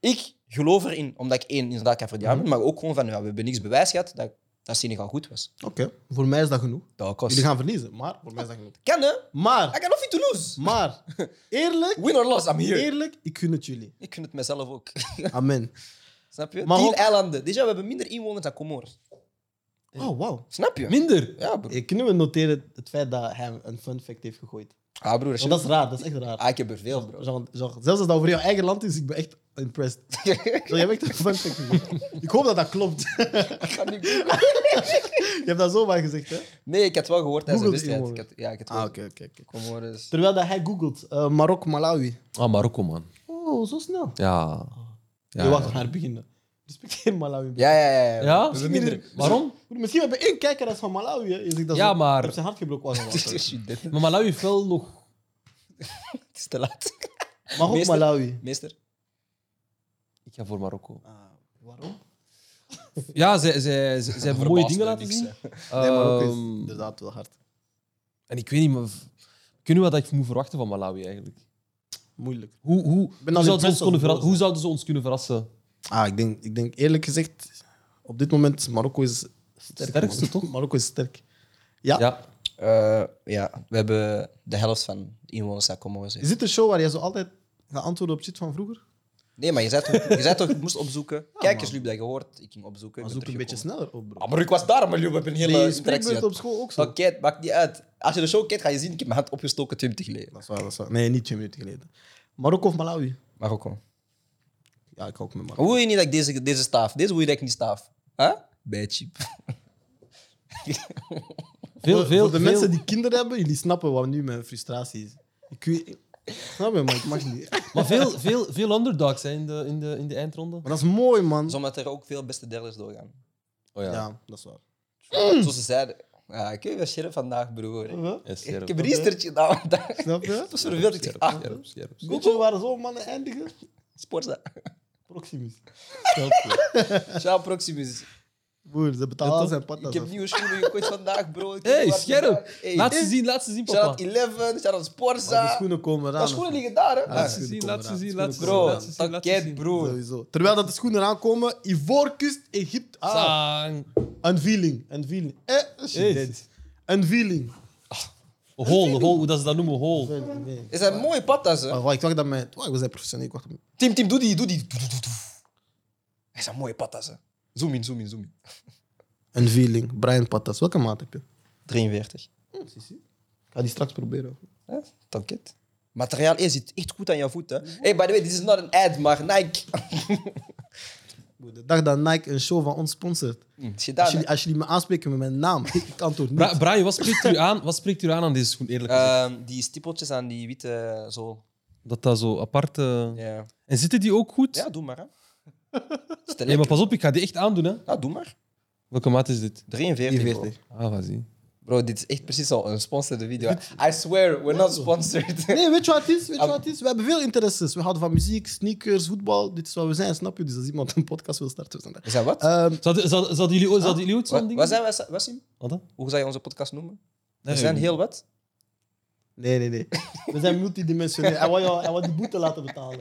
ik geloof erin, omdat ik één inderdaad kan verdienen,
Mhm.
maar ook gewoon van ja, we hebben niks bewijs gehad dat, dat Senegal goed was.
Oké, voor mij is dat genoeg.
Dat
Jullie gaan verliezen, maar voor mij is dat genoeg.
Kan hè? I
Maar,
got nothing to lose.
maar, eerlijk,
Win or loss, I'm here.
eerlijk, ik gun het jullie.
Ik gun het mezelf ook.
Amen.
Snap je?
Maar
Tien
ook-
eilanden. Déjà, we hebben minder inwoners dan Comoros.
Oh, wauw.
Snap je?
Minder.
Ja, broer.
Eh, Kunnen we noteren het feit dat hij een fun fact heeft gegooid?
Ah, broer. als je-
Want dat is raar, dat is echt raar.
Ah, ik heb er veel, bro.
Zo- zo- zelfs als dat over jouw eigen land is, ik ben echt impressed. Zo, jij hebt echt een fun fact gegooid. Ik hoop dat dat klopt.
Ik ga niet googlen.
Je hebt dat zomaar gezegd, hè?
Nee, ik had wel gehoord tijdens de
Google
wedstrijd. Ik
inwoners.
had, ja, ik had wel.
Ah, oké, oké.
Comoros.
Terwijl dat hij googelt, eh Marok, Malawi.
Ah, Marokko, man.
Oh, zo snel.
Ja.
Ja,
Ja,
wacht, we gaan er beginnen. Respecteer Malawi.
Ja, ja, ja. ja.
Ja?
We hebben minder.
Waarom?
Misschien hebben we één kijker als van Malawi. Hè. Je zegt dat
Ja,
zo-
maar-
Op zijn hart gebroken was. maar
Shit, dit-
Maar Malawi heeft wel nog...
Het is te laat.
ook
Meester-
Malawi.
Meester.
Ik ga voor Marokko.
Ah, waarom?
Ja, zij, zij, zij, zij hebben
Verbaast
mooie
me
dingen laten
niks,
zien.
Nee, Marokko is
Ehm,
inderdaad wel hard.
en ik weet niet, maar... Kunnen we wat ik moet verwachten van Malawi eigenlijk?
Moeilijk.
Hoe, hoe,
ben
hoe,
al
zouden
impressed
ze ons
als
kunnen
we
verra-
boos zijn.
hoe zouden ze ons kunnen verrassen?
Ah, ik denk, ik denk eerlijk gezegd, op dit moment Marokko is sterk.
Sterkste,
man. Marokko is sterk. Ja.
Ja.
Eh, ja, we hebben de helft van de inwoners van Comoros. hè.
Is dit een show waar jij zo altijd gaat antwoorden op shit van vroeger?
Nee, maar je zei toch, je zei toch ik moest opzoeken. Kijk eens,
man.
Luc, dat je hoort. Ik ging opzoeken. ik
Maar
ben
zoek een beetje
teruggekomen.
sneller op, bro.
Ah, maar ik was daar, maar Luc, we hebben een hele
Die
interactie
spreekbeurt
gehad.
op school ook zo.
Oké, het maakt niet uit. Als je de show kijkt, ga je zien, ik heb mijn hand opgestoken 20 geleden.
Dat is waar, dat is waar. Nee, niet twee minuten geleden. Marokko of Malawi?
Marokko.
Ja, ik hou ook met Marokko.
Hoe je niet dat ik deze, deze staaf, deze hoe je dat ik niet staaf? Huh? Bij cheap.
Veel,
Voor-
veel,
voor de
veel-
mensen die kinderen hebben, jullie snappen wat nu mijn frustratie is. Ik weet... Snap je, maar ik mag niet.
Maar veel, veel, veel underdogs hè, in, de, in, de, in de eindronde.
Maar dat is mooi, man.
Zodat Dus er ook veel beste derders doorgaan.
Oh ja.
Ja, dat is waar.
Zoals ze zeiden. Ja, ik heb wel sheriff vandaag, broer.
Ja,
Ik
scherp.
heb een research gedaan vandaag. Dat
Snap je?
is verveeld. Ik zeg, ah,
Scherp, scherp.
Weet je waar zo'n mannen eindigen?
Sporza.
Proximus.
Ciao, Proximus.
Broer, ze betalen al zijn
Ik
patas
heb
af.
nieuwe schoenen gekocht vandaag, bro. Ik weet
Hey,
niet waar die
scherp.
waren. Hey,
Laat ze zien, laat ze zien, papa.
Shout-out 11, shout-out
Maar de
Sporza.
schoenen komen eraan.
Dat schoenen liggen daar, hè.
Ja,
Laat
Ah,
ze zien,
Schoenen
laat ze
komen
zien,
eraan.
laat ze zien.
Schoenen
Bro,
laat ze zien,
dat
laat ze zien.
kent, bro.
Sowieso. Terwijl dat de schoenen eraan komen, Ivoorkust, Egypte. Ah,
Zang.
een feeling. Een feeling. Eh,
Hey.
shit. Een feeling.
Hol, hol, hoe dat ze dat noemen, hol.
Nee.
Is dat mooie patas, hè?
Wacht, wacht, ik wacht dat mijn... Wacht, we zijn professioneel. Ik wacht. dat mijn-
Tim, Tim, doe die, doe die. Doe, doe, doe, doe. Hij is een mooie patas. hè. Zoom in, zoom in, zoom in.
Een feeling. Brian Patas. Welke maat heb je?
43.
Hm, Ik ga die straks proberen.
Hè? Tanket. Materiaal E zit echt goed aan jouw voet. Hè? Hey, by the way, dit is not an ad, maar Nike.
De dag dat Nike een show van ons sponsort.
Mm.
Is
Als
je daar?
jullie,
hè?
als jullie me aanspreken met mijn naam, ik antwoord niet.
Bra- Brian, wat spreekt, u aan, wat spreekt u aan aan deze schoen, eerlijk gezegd?
Ehm, die stippeltjes aan die witte zool.
Dat dat zo apart... eh,
Ja,
En zitten die ook goed?
ja doe maar. Hè. Is te
Nee, maar
lekker.
pas op, ik ga die echt aandoen, hè.
Ja, doe maar.
Welke maat is dit?
43. Bro.
43.
Ah, wat zie.
Bro, dit is echt precies al een sponsored video. I swear, we're not sponsored.
Nee, weet je wat het is? Weet
Ah.
je wat het is? We hebben veel interesses. We houden van muziek, sneakers, voetbal. Dit is wat we zijn, snap je? Dus als iemand een podcast wil starten, we zijn daar.
Is dat wat?
Ehm,
Zouden zouden- zouden jullie, ook- zouden jullie ook zo'n
Eh, Wat,
ding
wat zijn wij, Sa- Wassim?
Wat dan?
Hoe zou je onze podcast noemen?
Nee,
we zijn
nee.
heel wat.
nee, nee, nee. We zijn multidimensioneel. Hij wil jou- hij wil die boete laten betalen.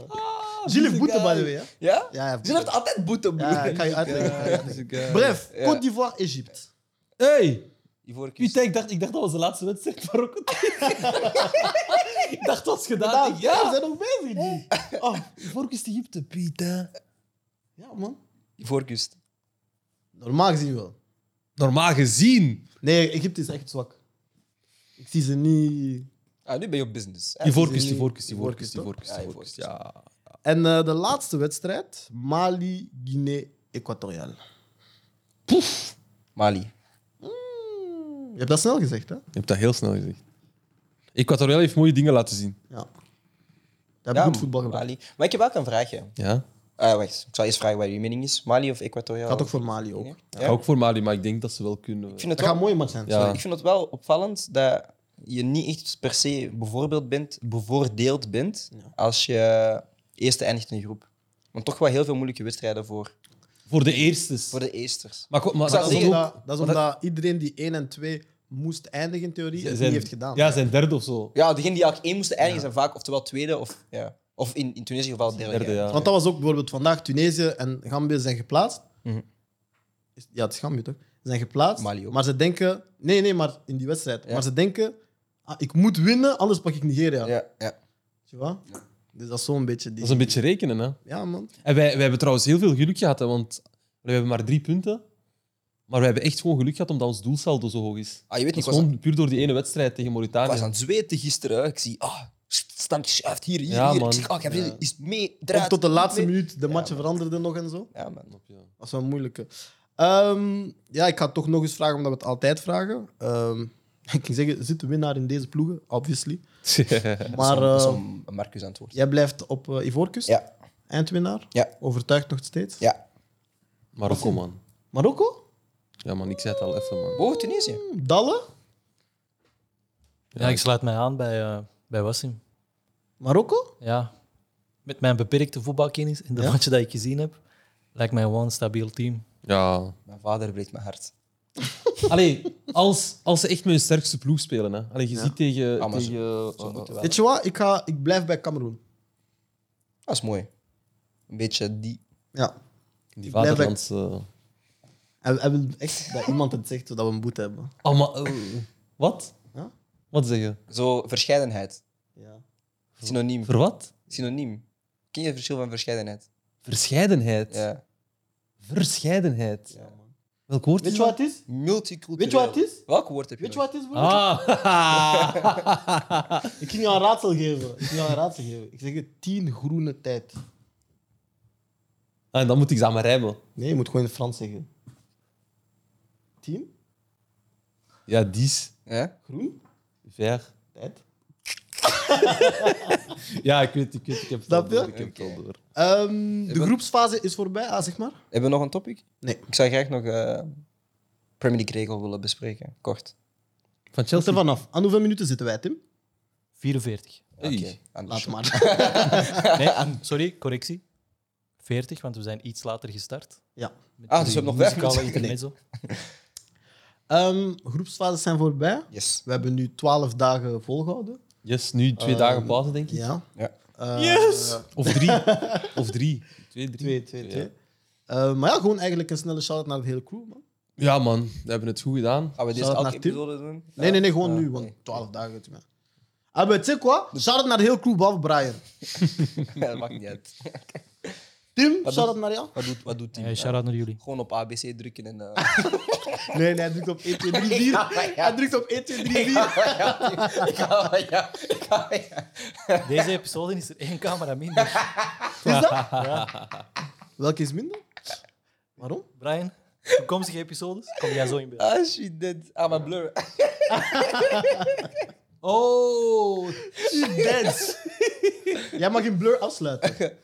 Gilles heeft boete,
Ah, guy.
by the way. Hè?
Ja?
Ja, hij heeft
Ze heeft altijd boete, broer.
Ja, ik ga je uitleggen. ik ga je uitleggen. Bref,
Ja.
Côte d'Ivoire, Egypte.
Hey!
Ivoren kust.
Putain, ik dacht, ik dacht dat was de laatste wedstrijd van Marokko. ik dacht dat was gedaan. Ik-
Ja, we
Ja!
zijn nog bezig. G.
Oh, Vork is Egypte, Putain.
Ja, man.
Ivoorkust.
Normaal gezien wel.
Normaal gezien.
Nee, Egypte is echt zwak. Ik zie ze niet.
Ah, nu ben je op business.
Die
Ivoorkust.
voorkust, die voorkust, die voorkust, die
toch?
voorkust.
Ja,
die
die
voorkust,
voorkust.
Ja.
En eh, de laatste wedstrijd: Mali, Guinea, Equatoriaal.
Mali.
Je hebt dat snel gezegd, hè?
Je hebt dat heel snel gezegd. Equatorial heeft mooie dingen laten zien.
Ja. Dat heb ik goed voetbal gedaan.
Mali. Maar ik heb ook een vraagje.
Ja.
Ah, wacht, ik zal eerst vragen wat je mening is. Mali of Equatoriaal?
Gaat ook voor Mali ook.
Ja.
Ik ga ook voor Mali, maar ik denk dat ze wel kunnen.
Ik, vind het
Dat gaat
wel,
een mooie match zijn.
Ja.
sorry.
ik vind het wel opvallend dat je niet echt per se bijvoorbeeld bent, bevoordeeld bent als je eerste eindigt in een groep. Want toch wel heel veel moeilijke wedstrijden voor,
Voor de eerstes.
voor de eersters.
Maar, ko- maar
zou
Dat
dat
is
is
zeggen-
ook...
omdat, dat is omdat iedereen die 1 en 2 moest eindigen, in theorie, het
zijn-
niet heeft gedaan.
Ja, zijn derde of zo.
Ja, degenen die eigenlijk één moesten eindigen zijn vaak oftewel tweede of... Ja. Of in, in Tunesië geval derde.
Derde,
ja.
ja.
Want dat was ook bijvoorbeeld vandaag. Tunesië en Gambia zijn geplaatst.
Mhm.
Is- Ja, het is Gambia toch? Ze zijn geplaatst.
Mali ook.
Maar ze denken. Nee, nee, maar in die wedstrijd.
Ja.
Maar ze denken. ah, ik moet winnen, anders pak ik Nigeria.
Ja, ja.
Tu vois? Dus dat is zo'n beetje. Die...
Dat is een beetje rekenen, hè.
Ja, man.
En wij, wij hebben trouwens heel veel geluk gehad, hè, want we hebben maar drie punten. Maar we hebben echt gewoon geluk gehad omdat ons doelsaldo zo hoog is.
Ah,
Dat
je weet
is
niet, ik was,
gewoon puur door die ene wedstrijd tegen
ik was
Mauritanië.
aan het zweten gisteren. hè. Ik zie, ah, stank schuift hier, hier,
Ja,
hier.
man.
Ik zeg, ah, Gabriel
Ja.
is mee,
Of
draait.
tot de laatste
mee.
minuut de matchen veranderden nog en zo.
Ja, man.
Dat is wel een moeilijke. Ehm, ja, ik ga het toch nog eens vragen, omdat we het altijd vragen. Ehm, ik ging zeggen, zit de winnaar in deze ploegen? Obviously. Maar
Maar, dat is
eh,
om een Marcus antwoord.
jij blijft op eh, Ivoorkust,
Ja,
eindwinnaar.
Ja.
Overtuigd nog steeds.
ja.
Marokko, man.
Marokko?
Ja, man, ik zei het al even, man.
Boven Tunesië.
Hm, Dalle?
Ja, ik sluit mij aan bij, eh bij Wassim.
Marokko?
Ja. Met mijn beperkte voetbalkennis en de
Ja?
matchen dat ik gezien heb, lijkt mij gewoon een stabiel team.
Ja.
Mijn vader breekt mijn hart.
Allee, als, als ze echt met hun sterkste ploeg spelen, hè. Allee, je ziet tegen...
Ah, maar ze-
tegen
Zo
oh.
moeten we wel.
Weet je wat? Ik, ga, ik blijf bij Cameroen.
Dat is mooi. Een beetje die.
Ja.
die
blijf bij-
vaderlandse...
En hij wil echt dat iemand het zegt, zodat we een boete hebben.
Oh, maar, eh, wat?
Ja?
Wat zeg je?
Zo, verscheidenheid.
Ja.
Synoniem.
Voor wat?
Synoniem. Ken je het verschil van verscheidenheid?
Verscheidenheid.
Ja.
Verscheidenheid.
man.
Welk woord
Weet
is
je wat het is?
Multicultureel.
Weet je wat het is?
Welk woord heb je
Weet je
nog?
wat het is, broer?
dat? Ah.
Ik ging jou een raadsel geven. Ik ging jou een raadsel geven. Ik zeg je, tien groene tijd.
En Ah, dan moet ik ze aan me rijmen.
Nee, je moet gewoon in het Frans zeggen. Tien?
Ja, dies.
Ja?
Groen?
Ver.
Tijd?
Ja, ik weet, ik weet, ik heb het al
Snap je?
door. Ik heb het al
Oké.
door.
Ehm, de
ben-
groepsfase is voorbij, ah, zeg maar.
Hebben we nog een topic?
Nee.
Ik zou graag nog eh Premier League regel willen bespreken. Kort.
Van
Zet er
Chelsea.
vanaf. Aan hoeveel minuten zitten wij, Tim?
44.
Oké.
Oei.
anders.
Laat maar.
Nee, sorry, correctie. 40, want we zijn iets later gestart.
Ja.
Met
Ah, dus we
die
hebben nog vijf
muzikale
minuten.
intermezzo.
Ehm, groepsfases zijn voorbij.
Yes.
We hebben nu 12 dagen volgehouden.
Yes, nu twee
Eh,
dagen pauze, denk ik.
Ja.
Ja.
Eh,
Yes! Of drie. Of drie. Twee, drie.
Twee, twee,
Ja.
twee. Eh, maar ja, gewoon eigenlijk een snelle shout-out naar de hele crew, man.
Ja, man. We hebben het goed gedaan.
Gaan
Zou
we deze
dat
elke
naar Tim?
episode doen?
Nee, nee, nee, gewoon
Ah,
nu,
oké.
want 12 dagen. het is mij. Ah, maar zeg wat? Shout-out naar de hele crew, behalve Brian.
dat maakt niet uit.
Tim,
Wat
shout-out naar jou.
Wat doet, wat doet Tim?
Ja, shout-out naar jullie.
Gewoon op ABC drukken en... eh,
Nee, nee, hij drukt op 1, 2, 3, 4. Hij drukt op 1, 2, 3, 4.
ik ga- ja, ik ga- ja.
Deze episode is er één camera minder.
Welke is minder? Waarom?
Brian, toekomstige episodes, kom jij zo in beeld.
Ah, shit, dit. Ah, mijn blur.
Oh.
Dance. Jij mag in Blur afsluiten.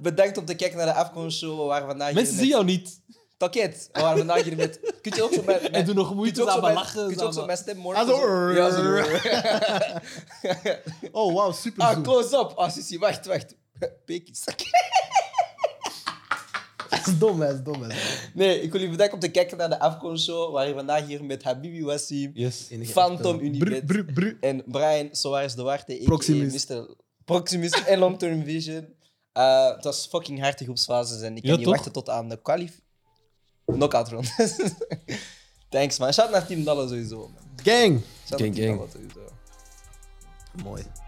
Bedankt om te kijken naar de Afcon-show. We waren vandaag
Mensen zien
hier met...
jou niet.
Toket. We waren vandaag hier met... Kun je ook zo met... met-
En doen nog
kun je
moeite
ook zo
aan
met-
mijn lachen.
Kun je ook zo mijn stem morgen...
Ah, zo.
Ja, zo-
Oh, wauw, super.
Ah, close up. Ah, Sissi, wacht, wacht. Pekies.
Dat is dom, hè, dat is dom. Hè.
Nee, ik wil jullie bedanken om te kijken naar de Afcon-show. We waren vandaag hier met Habibi Wassim,
Yes.
Phantom Unibet.
Bru, bru, bru.
En Brian Soares Duarte, a.k.a.
Proximus.
Mr. Proximus en Long Term Vision. Eh, het was fucking hard de groepsfases en ik kan
Ja,
niet
toch?
wachten tot aan de kwalif... Knockout rondes. Thanks man. Shout naar Team Dalle sowieso. Man.
Gang.
Shout
Gang,
naar Team
gang.
Dalle sowieso.
Mooi.